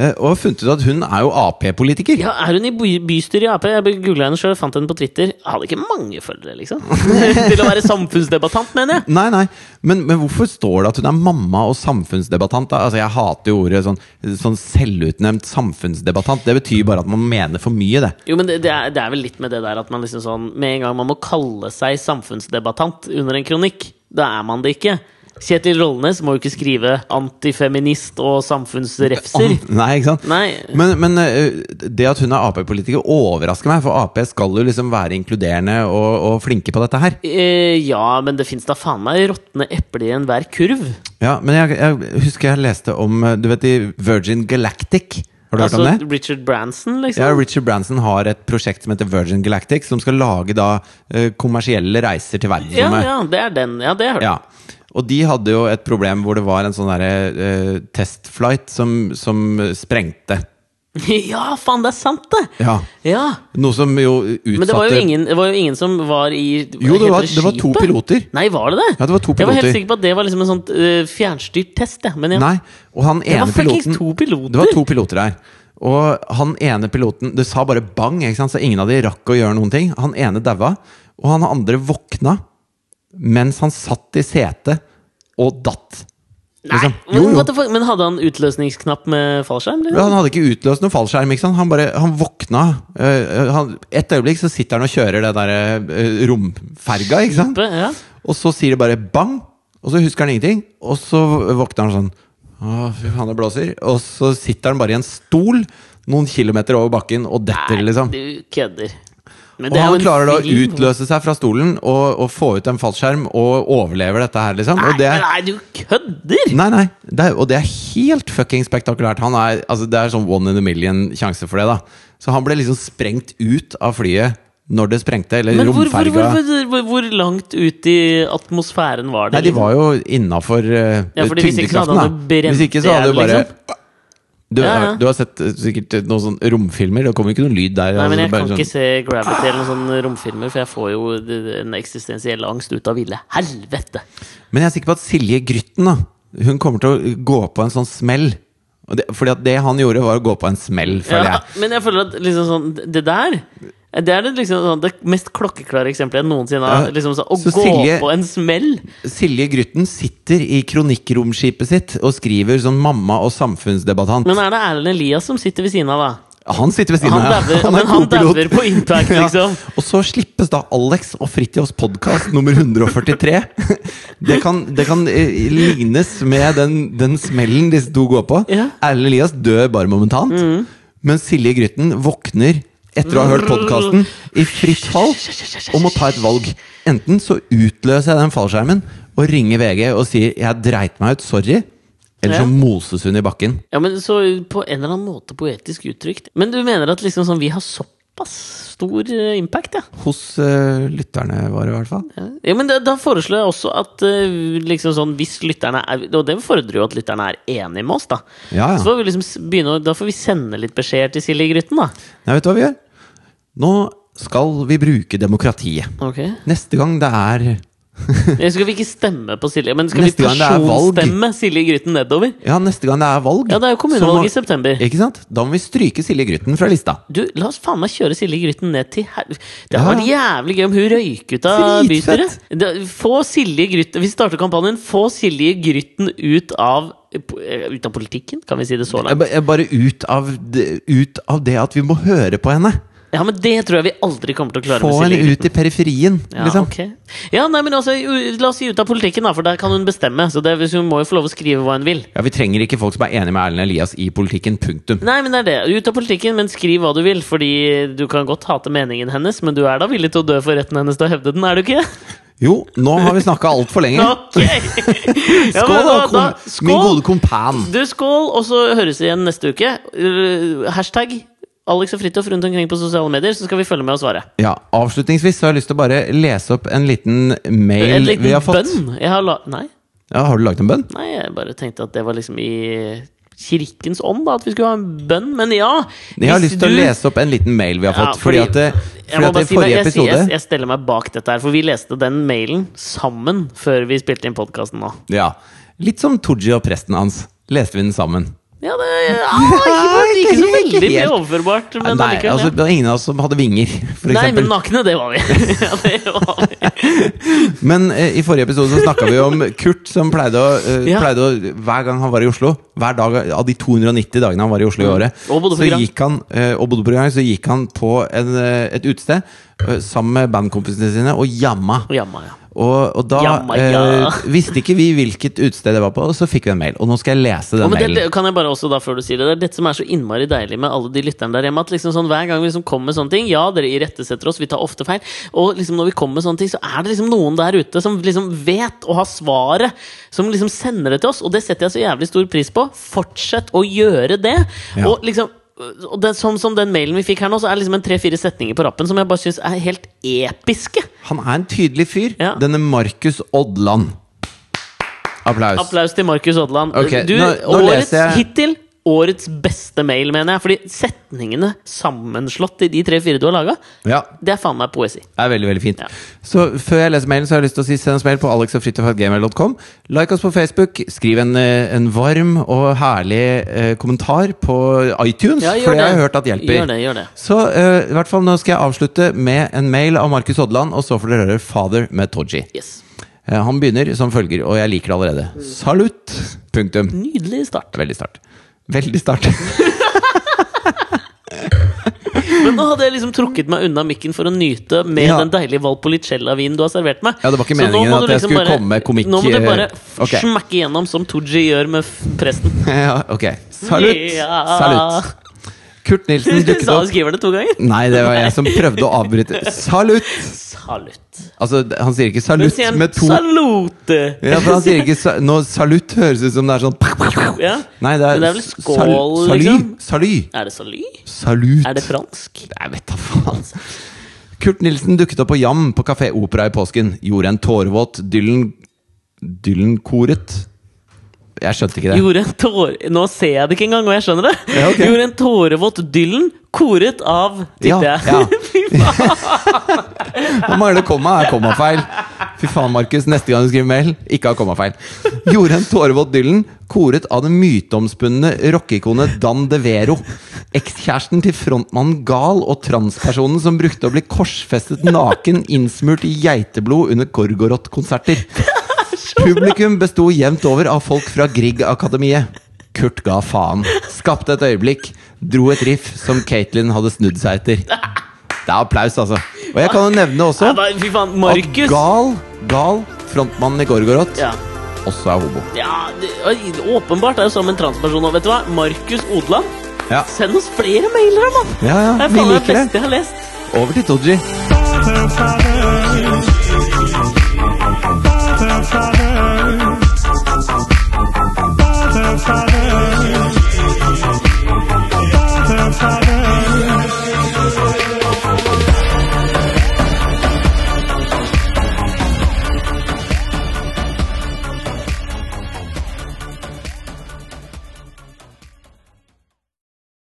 Speaker 2: Eh, Og funnet ut at hun er jo Ap-politiker.
Speaker 1: Ja, Er hun i by bystyret i Ap? Jeg googla henne sjøl, fant henne på Twitter. Jeg hadde ikke mange følgere, liksom. Til å være samfunnsdebattant, mener jeg.
Speaker 2: Nei, nei, men, men hvorfor står det at hun er mamma og samfunnsdebattant? da? Altså, Jeg hater jo ordet sånn, sånn selvutnevnt samfunnsdebattant. Det betyr bare at man mener for mye, det.
Speaker 1: Jo, men det, det, er, det er vel litt med det der at man liksom sånn Med en gang man må kalle seg samfunnsdebattant under en kronikk, da er man det ikke. Kjetil Rollnes må jo ikke skrive antifeminist og samfunnsrefser.
Speaker 2: An- Nei, ikke sant?
Speaker 1: Nei.
Speaker 2: Men, men eh, det at hun er Ap-politiker overrasker meg, for Ap skal jo liksom være inkluderende og, og flinke på dette her.
Speaker 1: Eh, ja, men det fins da faen meg råtne epler i enhver kurv.
Speaker 2: Ja, Men jeg, jeg husker jeg leste om eh, Du vet i Virgin Galactic? Har du hørt om det?
Speaker 1: Altså, Richard Branson, liksom.
Speaker 2: Ja, Richard Branson har et prosjekt som heter Virgin Galactic, som skal lage da eh, kommersielle reiser til
Speaker 1: ja,
Speaker 2: verdensrommet.
Speaker 1: ja, det er den. Ja, det har du.
Speaker 2: Ja. Og de hadde jo et problem hvor det var en sånn derre eh, testflight som, som sprengte.
Speaker 1: ja, faen, det er sant, det!
Speaker 2: Ja.
Speaker 1: ja.
Speaker 2: Noe som jo utsatte
Speaker 1: Men det var jo ingen, det var jo ingen som var i
Speaker 2: Jo, det
Speaker 1: heter
Speaker 2: var- det var to
Speaker 1: skipet?
Speaker 2: piloter.
Speaker 1: Nei, var det det?
Speaker 2: Ja, det var to
Speaker 1: Jeg var helt
Speaker 2: piloter.
Speaker 1: sikker på at det var liksom en sånn eh, fjernstyrt test. jeg, Men ja.
Speaker 2: Nei, og han
Speaker 1: var
Speaker 2: ene
Speaker 1: fuckings
Speaker 2: piloten
Speaker 1: to piloter.
Speaker 2: Det var to piloter der. Og han ene piloten Det sa bare bang, ikke sant? så ingen av de rakk å gjøre noen ting. Han ene daua, og han andre våkna mens han satt i setet og datt.
Speaker 1: Nei,
Speaker 2: Liksom.
Speaker 1: Men,
Speaker 2: Jo, jo.
Speaker 1: what the fuck? men hadde han utløsningsknapp med fallskjerm? liksom? eller?
Speaker 2: Ja, Han hadde ikke utløst noen fallskjerm. Ikke sant? Han bare, han våkna eh, han, Et øyeblikk så sitter han og kjører det der eh, romferga, ikke sant?
Speaker 1: Ja.
Speaker 2: Og så sier det bare bang, og så husker han ingenting. Og så våkner han sånn Å, fy faen, det blåser. Og så sitter han bare i en stol noen kilometer over bakken og detter, liksom.
Speaker 1: Nei, du kødder. Men
Speaker 2: Og
Speaker 1: det er jo
Speaker 2: han
Speaker 1: en
Speaker 2: klarer da å
Speaker 1: film.
Speaker 2: utløse seg fra stolen og, og få ut en fallskjerm og overlever dette her, liksom.
Speaker 1: Nei,
Speaker 2: Og det er
Speaker 1: nei, du kødder!
Speaker 2: Nei, nei, det er, og det er helt fucking spektakulært. Han er, altså, det er sånn one in a million sjanse for det, da. Så han ble liksom sprengt ut av flyet når det sprengte, eller
Speaker 1: Men hvor, hvor,
Speaker 2: romferga.
Speaker 1: hvor, hvor, hvor langt ut i atmosfæren var det?
Speaker 2: Nei, de var jo innafor eh,
Speaker 1: Ja, fordi hvis ikke så hadde han
Speaker 2: tyngdekraften, da.
Speaker 1: jo brent
Speaker 2: Hvis ikke så hadde
Speaker 1: ihjel,
Speaker 2: du bare
Speaker 1: liksom.
Speaker 2: du,
Speaker 1: Ja, ja.
Speaker 2: du har sett eh, sikkert eh, noen sånne romfilmer, det kommer ikke noe lyd der.
Speaker 1: Nei, men
Speaker 2: altså,
Speaker 1: jeg
Speaker 2: bare
Speaker 1: kan
Speaker 2: sånn-
Speaker 1: ikke se Gravity eller noen sånne romfilmer, for jeg får jo en eksistensiell angst ut av ville helvete.
Speaker 2: Men jeg er sikker på at Silje Grytten da Hun kommer til å gå på en sånn smell. Og det, fordi at det han gjorde, var å gå på en smell, føler
Speaker 1: Ja,
Speaker 2: jeg.
Speaker 1: men jeg føler at liksom sånn Det der det er det, liksom, sånn, det mest klokkeklare eksempelet jeg noensinne har.
Speaker 2: Ja.
Speaker 1: Liksom, sånn, å
Speaker 2: Så
Speaker 1: gå
Speaker 2: Silje-
Speaker 1: på en smell!
Speaker 2: Silje Grytten sitter i kronikkromskipet sitt og skriver som mamma og samfunnsdebattant.
Speaker 1: Men er det Erlend Elias som sitter ved siden av, da?
Speaker 2: han sitter ved siden
Speaker 1: Han
Speaker 2: av. ja.
Speaker 1: dauer-
Speaker 2: er
Speaker 1: men han
Speaker 2: co-pilot.
Speaker 1: dauer på impact, liksom.
Speaker 2: Og så slippes da Alex og Fridtjofs podkast nummer 143. Det kan, det kan eh, lignes med den, den smellen disse to går på.
Speaker 1: Ja. Mm.
Speaker 2: Erlend Elias dør bare momentant, mens Silje Grytten våkner etter å ha hørt podkasten i fritt fall og må ta et valg. Enten så utløser jeg den fallskjermen og ringer VG og sier 'jeg dreit meg ut, sorry', eller
Speaker 1: Ja.
Speaker 2: så moses hun i bakken.
Speaker 1: Ja, men så på en eller annen måte poetisk uttrykt. Men du mener at liksom sånn, vi har såpass Såpass stor eh, impact, ja.
Speaker 2: Hos eh, lytterne våre, i hvert fall.
Speaker 1: Ja, men da, da foreslår jeg også at eh, liksom sånn, hvis lytterne er Og det fordrer jo at lytterne er enige med oss, da.
Speaker 2: Ja,
Speaker 1: Så
Speaker 2: ja.
Speaker 1: får vi liksom s- begynne, å- da får vi sende litt beskjeder til Silje Grytten, da.
Speaker 2: Nei, vet du hva vi gjør? Nå skal vi bruke demokratiet.
Speaker 1: Ok
Speaker 2: Neste gang det er
Speaker 1: Eh, Skal vi ikke stemme på Silje? Men skal
Speaker 2: Neste
Speaker 1: vi
Speaker 2: gang det er valg.
Speaker 1: personstemme Silje Grytten nedover?
Speaker 2: Ja, neste gang det er valg
Speaker 1: Ja, det er jo
Speaker 2: så må-
Speaker 1: kommunevalg i september.
Speaker 2: Ikke sant? Da må vi stryke Silje Grytten fra lista.
Speaker 1: Du, La oss faen meg kjøre Silje Grytten ned til her... Det hadde
Speaker 2: Ja.
Speaker 1: vært jævlig gøy om hun røyk ut av
Speaker 2: Dritfett.
Speaker 1: bystyret. Det- Få Silje Grytten Vi starter kampanjen. Få Silje Grytten ut av eh, Ut av politikken, kan vi si det så
Speaker 2: Jeg
Speaker 1: langt?
Speaker 2: ba- jeg Bare ut av, det- ut av det at vi må høre på henne.
Speaker 1: Ja, men det tror jeg vi aldri kommer til å klare
Speaker 2: Få
Speaker 1: med
Speaker 2: henne
Speaker 1: Silje
Speaker 2: ut
Speaker 1: Grytten.
Speaker 2: i periferien,
Speaker 1: Ja,
Speaker 2: liksom.
Speaker 1: ok. ja, nei, men altså, u- La oss si ut av politikken, da, for der kan hun bestemme. Så det, Hun må jo få lov å skrive hva hun vil.
Speaker 2: Ja, Vi trenger ikke folk som er enig med Erlend Elias i politikken. Punktum.
Speaker 1: Nei, men det er det. Ut av politikken, men skriv hva du vil. Fordi du kan godt hate meningen hennes, men du er da villig til å dø for retten hennes til å hevde den, er du ikke?
Speaker 2: Jo, nå har vi snakka altfor lenge.
Speaker 1: Ok! Ja,
Speaker 2: Skål,
Speaker 1: men
Speaker 2: da,
Speaker 1: da-
Speaker 2: kom,
Speaker 1: da-
Speaker 2: min
Speaker 1: skål!
Speaker 2: gode kompan.
Speaker 1: Du, skål, og så høres vi igjen neste uke. Uh, Hashtag Alex og Fridtjof rundt omkring på sosiale medier, så skal vi følge med og svare.
Speaker 2: Ja, Avslutningsvis så har jeg lyst til å bare lese opp en liten mail
Speaker 1: En liten
Speaker 2: vi har fått.
Speaker 1: bønn. Jeg har la nei,
Speaker 2: Ja, har du laget en bønn?
Speaker 1: nei, jeg bare tenkte at det var liksom i kirkens ånd, da, at vi skulle ha en bønn. Men ja!
Speaker 2: Jeg har
Speaker 1: hvis
Speaker 2: lyst til å
Speaker 1: du-
Speaker 2: lese opp en liten mail vi har
Speaker 1: Ja,
Speaker 2: fått. fordi, at, det-
Speaker 1: Jeg
Speaker 2: fordi
Speaker 1: må
Speaker 2: at
Speaker 1: bare
Speaker 2: i
Speaker 1: si det,
Speaker 2: forrige
Speaker 1: jeg, sier-
Speaker 2: episode
Speaker 1: jeg, jeg steller meg bak dette her, for vi leste den mailen sammen før vi spilte inn podkasten nå.
Speaker 2: Ja, Litt som Tooji og presten hans. Leste vi den sammen?
Speaker 1: Ja, det ah, ikke, ikke så
Speaker 2: Ikke
Speaker 1: veldig mye
Speaker 2: helt.
Speaker 1: overførbart, men
Speaker 2: Nei,
Speaker 1: allikevel,
Speaker 2: altså,
Speaker 1: ja.
Speaker 2: det var ingen av oss som hadde vinger, for
Speaker 1: Nei, men
Speaker 2: eksempel.
Speaker 1: nakne, det var vi. ja, det var vi.
Speaker 2: Men eh, i forrige episode så snakka vi om Kurt, som pleide å, eh,
Speaker 1: Ja.
Speaker 2: pleide å Hver gang han var i Oslo, hver dag av de 290 dagene han var i Oslo i året,
Speaker 1: Mm. Og bodde på
Speaker 2: så
Speaker 1: Grand.
Speaker 2: gikk han, eh, og bodde på Grand, så gikk han på en, eh, et utested eh, sammen med bandkompisene sine og jamma.
Speaker 1: Og jamma, ja.
Speaker 2: Og, og da
Speaker 1: Jamma, ja.
Speaker 2: eh, visste ikke vi hvilket utested det var på, og så fikk vi en mail. Og nå skal jeg lese den
Speaker 1: Og men det, det
Speaker 2: mailen.
Speaker 1: kan jeg bare også da før du sier det Det er dette som er så innmari deilig med alle de lytterne der hjemme. At liksom sånn Hver gang vi liksom kommer med sånne ting Ja, dere irettesetter oss, vi tar ofte feil. Og liksom når vi kommer med sånne ting, så er det liksom noen der ute som liksom vet og har svaret. Som liksom sender det til oss. Og det setter jeg så jævlig stor pris på. Fortsett å gjøre det.
Speaker 2: Ja.
Speaker 1: Og liksom og det, som, som den mailen vi fikk her nå, så er det liksom en tre-fire setninger på rappen som jeg bare syns er helt episke.
Speaker 2: Han er en tydelig fyr.
Speaker 1: Ja.
Speaker 2: Denne Markus Odland. Applaus.
Speaker 1: Applaus til Markus Odland.
Speaker 2: Ok,
Speaker 1: du,
Speaker 2: nå- nå
Speaker 1: årets,
Speaker 2: leser jeg-
Speaker 1: Hittil årets beste mail, mener jeg. Fordi setningene sammenslått i de tre-fire du har laga,
Speaker 2: Ja,
Speaker 1: det er faen meg poesi.
Speaker 2: Det er veldig, veldig fint.
Speaker 1: Ja.
Speaker 2: Så før jeg leser mailen, så har jeg lyst til å si send oss mail på alexogfritjofatgamer.com. Like oss på Facebook. Skriv en, eh, en varm og herlig eh, kommentar på iTunes,
Speaker 1: Ja, gjør
Speaker 2: for det
Speaker 1: det.
Speaker 2: har jeg hørt at hjelper.
Speaker 1: Gjør det, gjør det.
Speaker 2: Så eh, i hvert fall nå skal jeg avslutte med en mail av Markus Odland, og så får dere høre 'Father' med Todji.
Speaker 1: Yes.
Speaker 2: Eh, han begynner som følger, og jeg liker det allerede. Salutt! Punktum.
Speaker 1: Nydelig start.
Speaker 2: Veldig start. Veldig start.
Speaker 1: Men nå hadde jeg liksom trukket meg unna mikken for å nyte med
Speaker 2: Ja.
Speaker 1: den deilige Valpolicella-vinen du har servert meg.
Speaker 2: Ja, det var ikke
Speaker 1: Så nå
Speaker 2: meningen
Speaker 1: må du liksom
Speaker 2: at jeg skulle komme med komikk- eh,
Speaker 1: Nå må du bare f-
Speaker 2: Ok.
Speaker 1: smekke gjennom som Tooji gjør med f- presten.
Speaker 2: ja, ok. Salutt!
Speaker 1: Ja.
Speaker 2: Salutt! Kurt Nilsen dukket
Speaker 1: Sa-
Speaker 2: opp.
Speaker 1: Skriver det to ganger?
Speaker 2: Nei, det var jeg som prøvde å avbryte. Salutt!
Speaker 1: Salutt.
Speaker 2: Altså, d- han sier ikke
Speaker 1: Men
Speaker 2: salutt
Speaker 1: sier han
Speaker 2: med to
Speaker 1: salute?
Speaker 2: ja, for han sier ikke sa Nå, salutt høres ut som det er sånn
Speaker 1: Ja.
Speaker 2: Nei, det er,
Speaker 1: Men det er vel skål,
Speaker 2: sal-
Speaker 1: liksom?
Speaker 2: Salut!
Speaker 1: Er det salut?
Speaker 2: Salut!
Speaker 1: Er det fransk?
Speaker 2: Jeg vet da faen. Kurt Nilsen dukket opp på Jam på Kafé Opera i påsken. Gjorde en tårevåt Dylan Dylan-koret. Jeg skjønte ikke det.
Speaker 1: Gjorde en tåre Nå ser jeg det ikke engang, og jeg skjønner det.
Speaker 2: Ja, ok.
Speaker 1: Gjorde en tårevåt Dylan, koret av Tipper
Speaker 2: Ja,
Speaker 1: jeg.
Speaker 2: ja.
Speaker 1: Fy faen.
Speaker 2: Nå mangler det komma. Er kommafeil. Fy faen, Markus. Neste gang du skriver mail, ikke ha kommafeil. Gjorde en tårevåt Dylan, koret av det myteomspunne rockeikonet Dan De Vero. Ekskjæresten til frontmannen Gal og transpersonen som brukte å bli korsfestet naken, innsmurt i geiteblod under Gorgoroth-konserter. Publikum besto jevnt over av folk fra Grieg-akademiet. Kurt ga faen. Skapte et øyeblikk. Dro et riff som Caitlyn hadde snudd seg etter. Det er applaus, altså. Og jeg kan jo nevne også
Speaker 1: Nei, nei, Fy faen,
Speaker 2: at
Speaker 1: Markus!
Speaker 2: Gal, Gal, frontmannen i Gorgoroth,
Speaker 1: Ja.
Speaker 2: også er homo.
Speaker 1: ja, det- oi, åpenbart er jo sammen med en transperson òg, vet du hva. Markus Odland.
Speaker 2: Ja,
Speaker 1: Send oss flere mailer, mann!
Speaker 2: ja,
Speaker 1: Det
Speaker 2: ja
Speaker 1: er
Speaker 2: vi
Speaker 1: faen meg det
Speaker 2: liker det.
Speaker 1: beste jeg har lest.
Speaker 2: Over til Tooji.
Speaker 4: Ba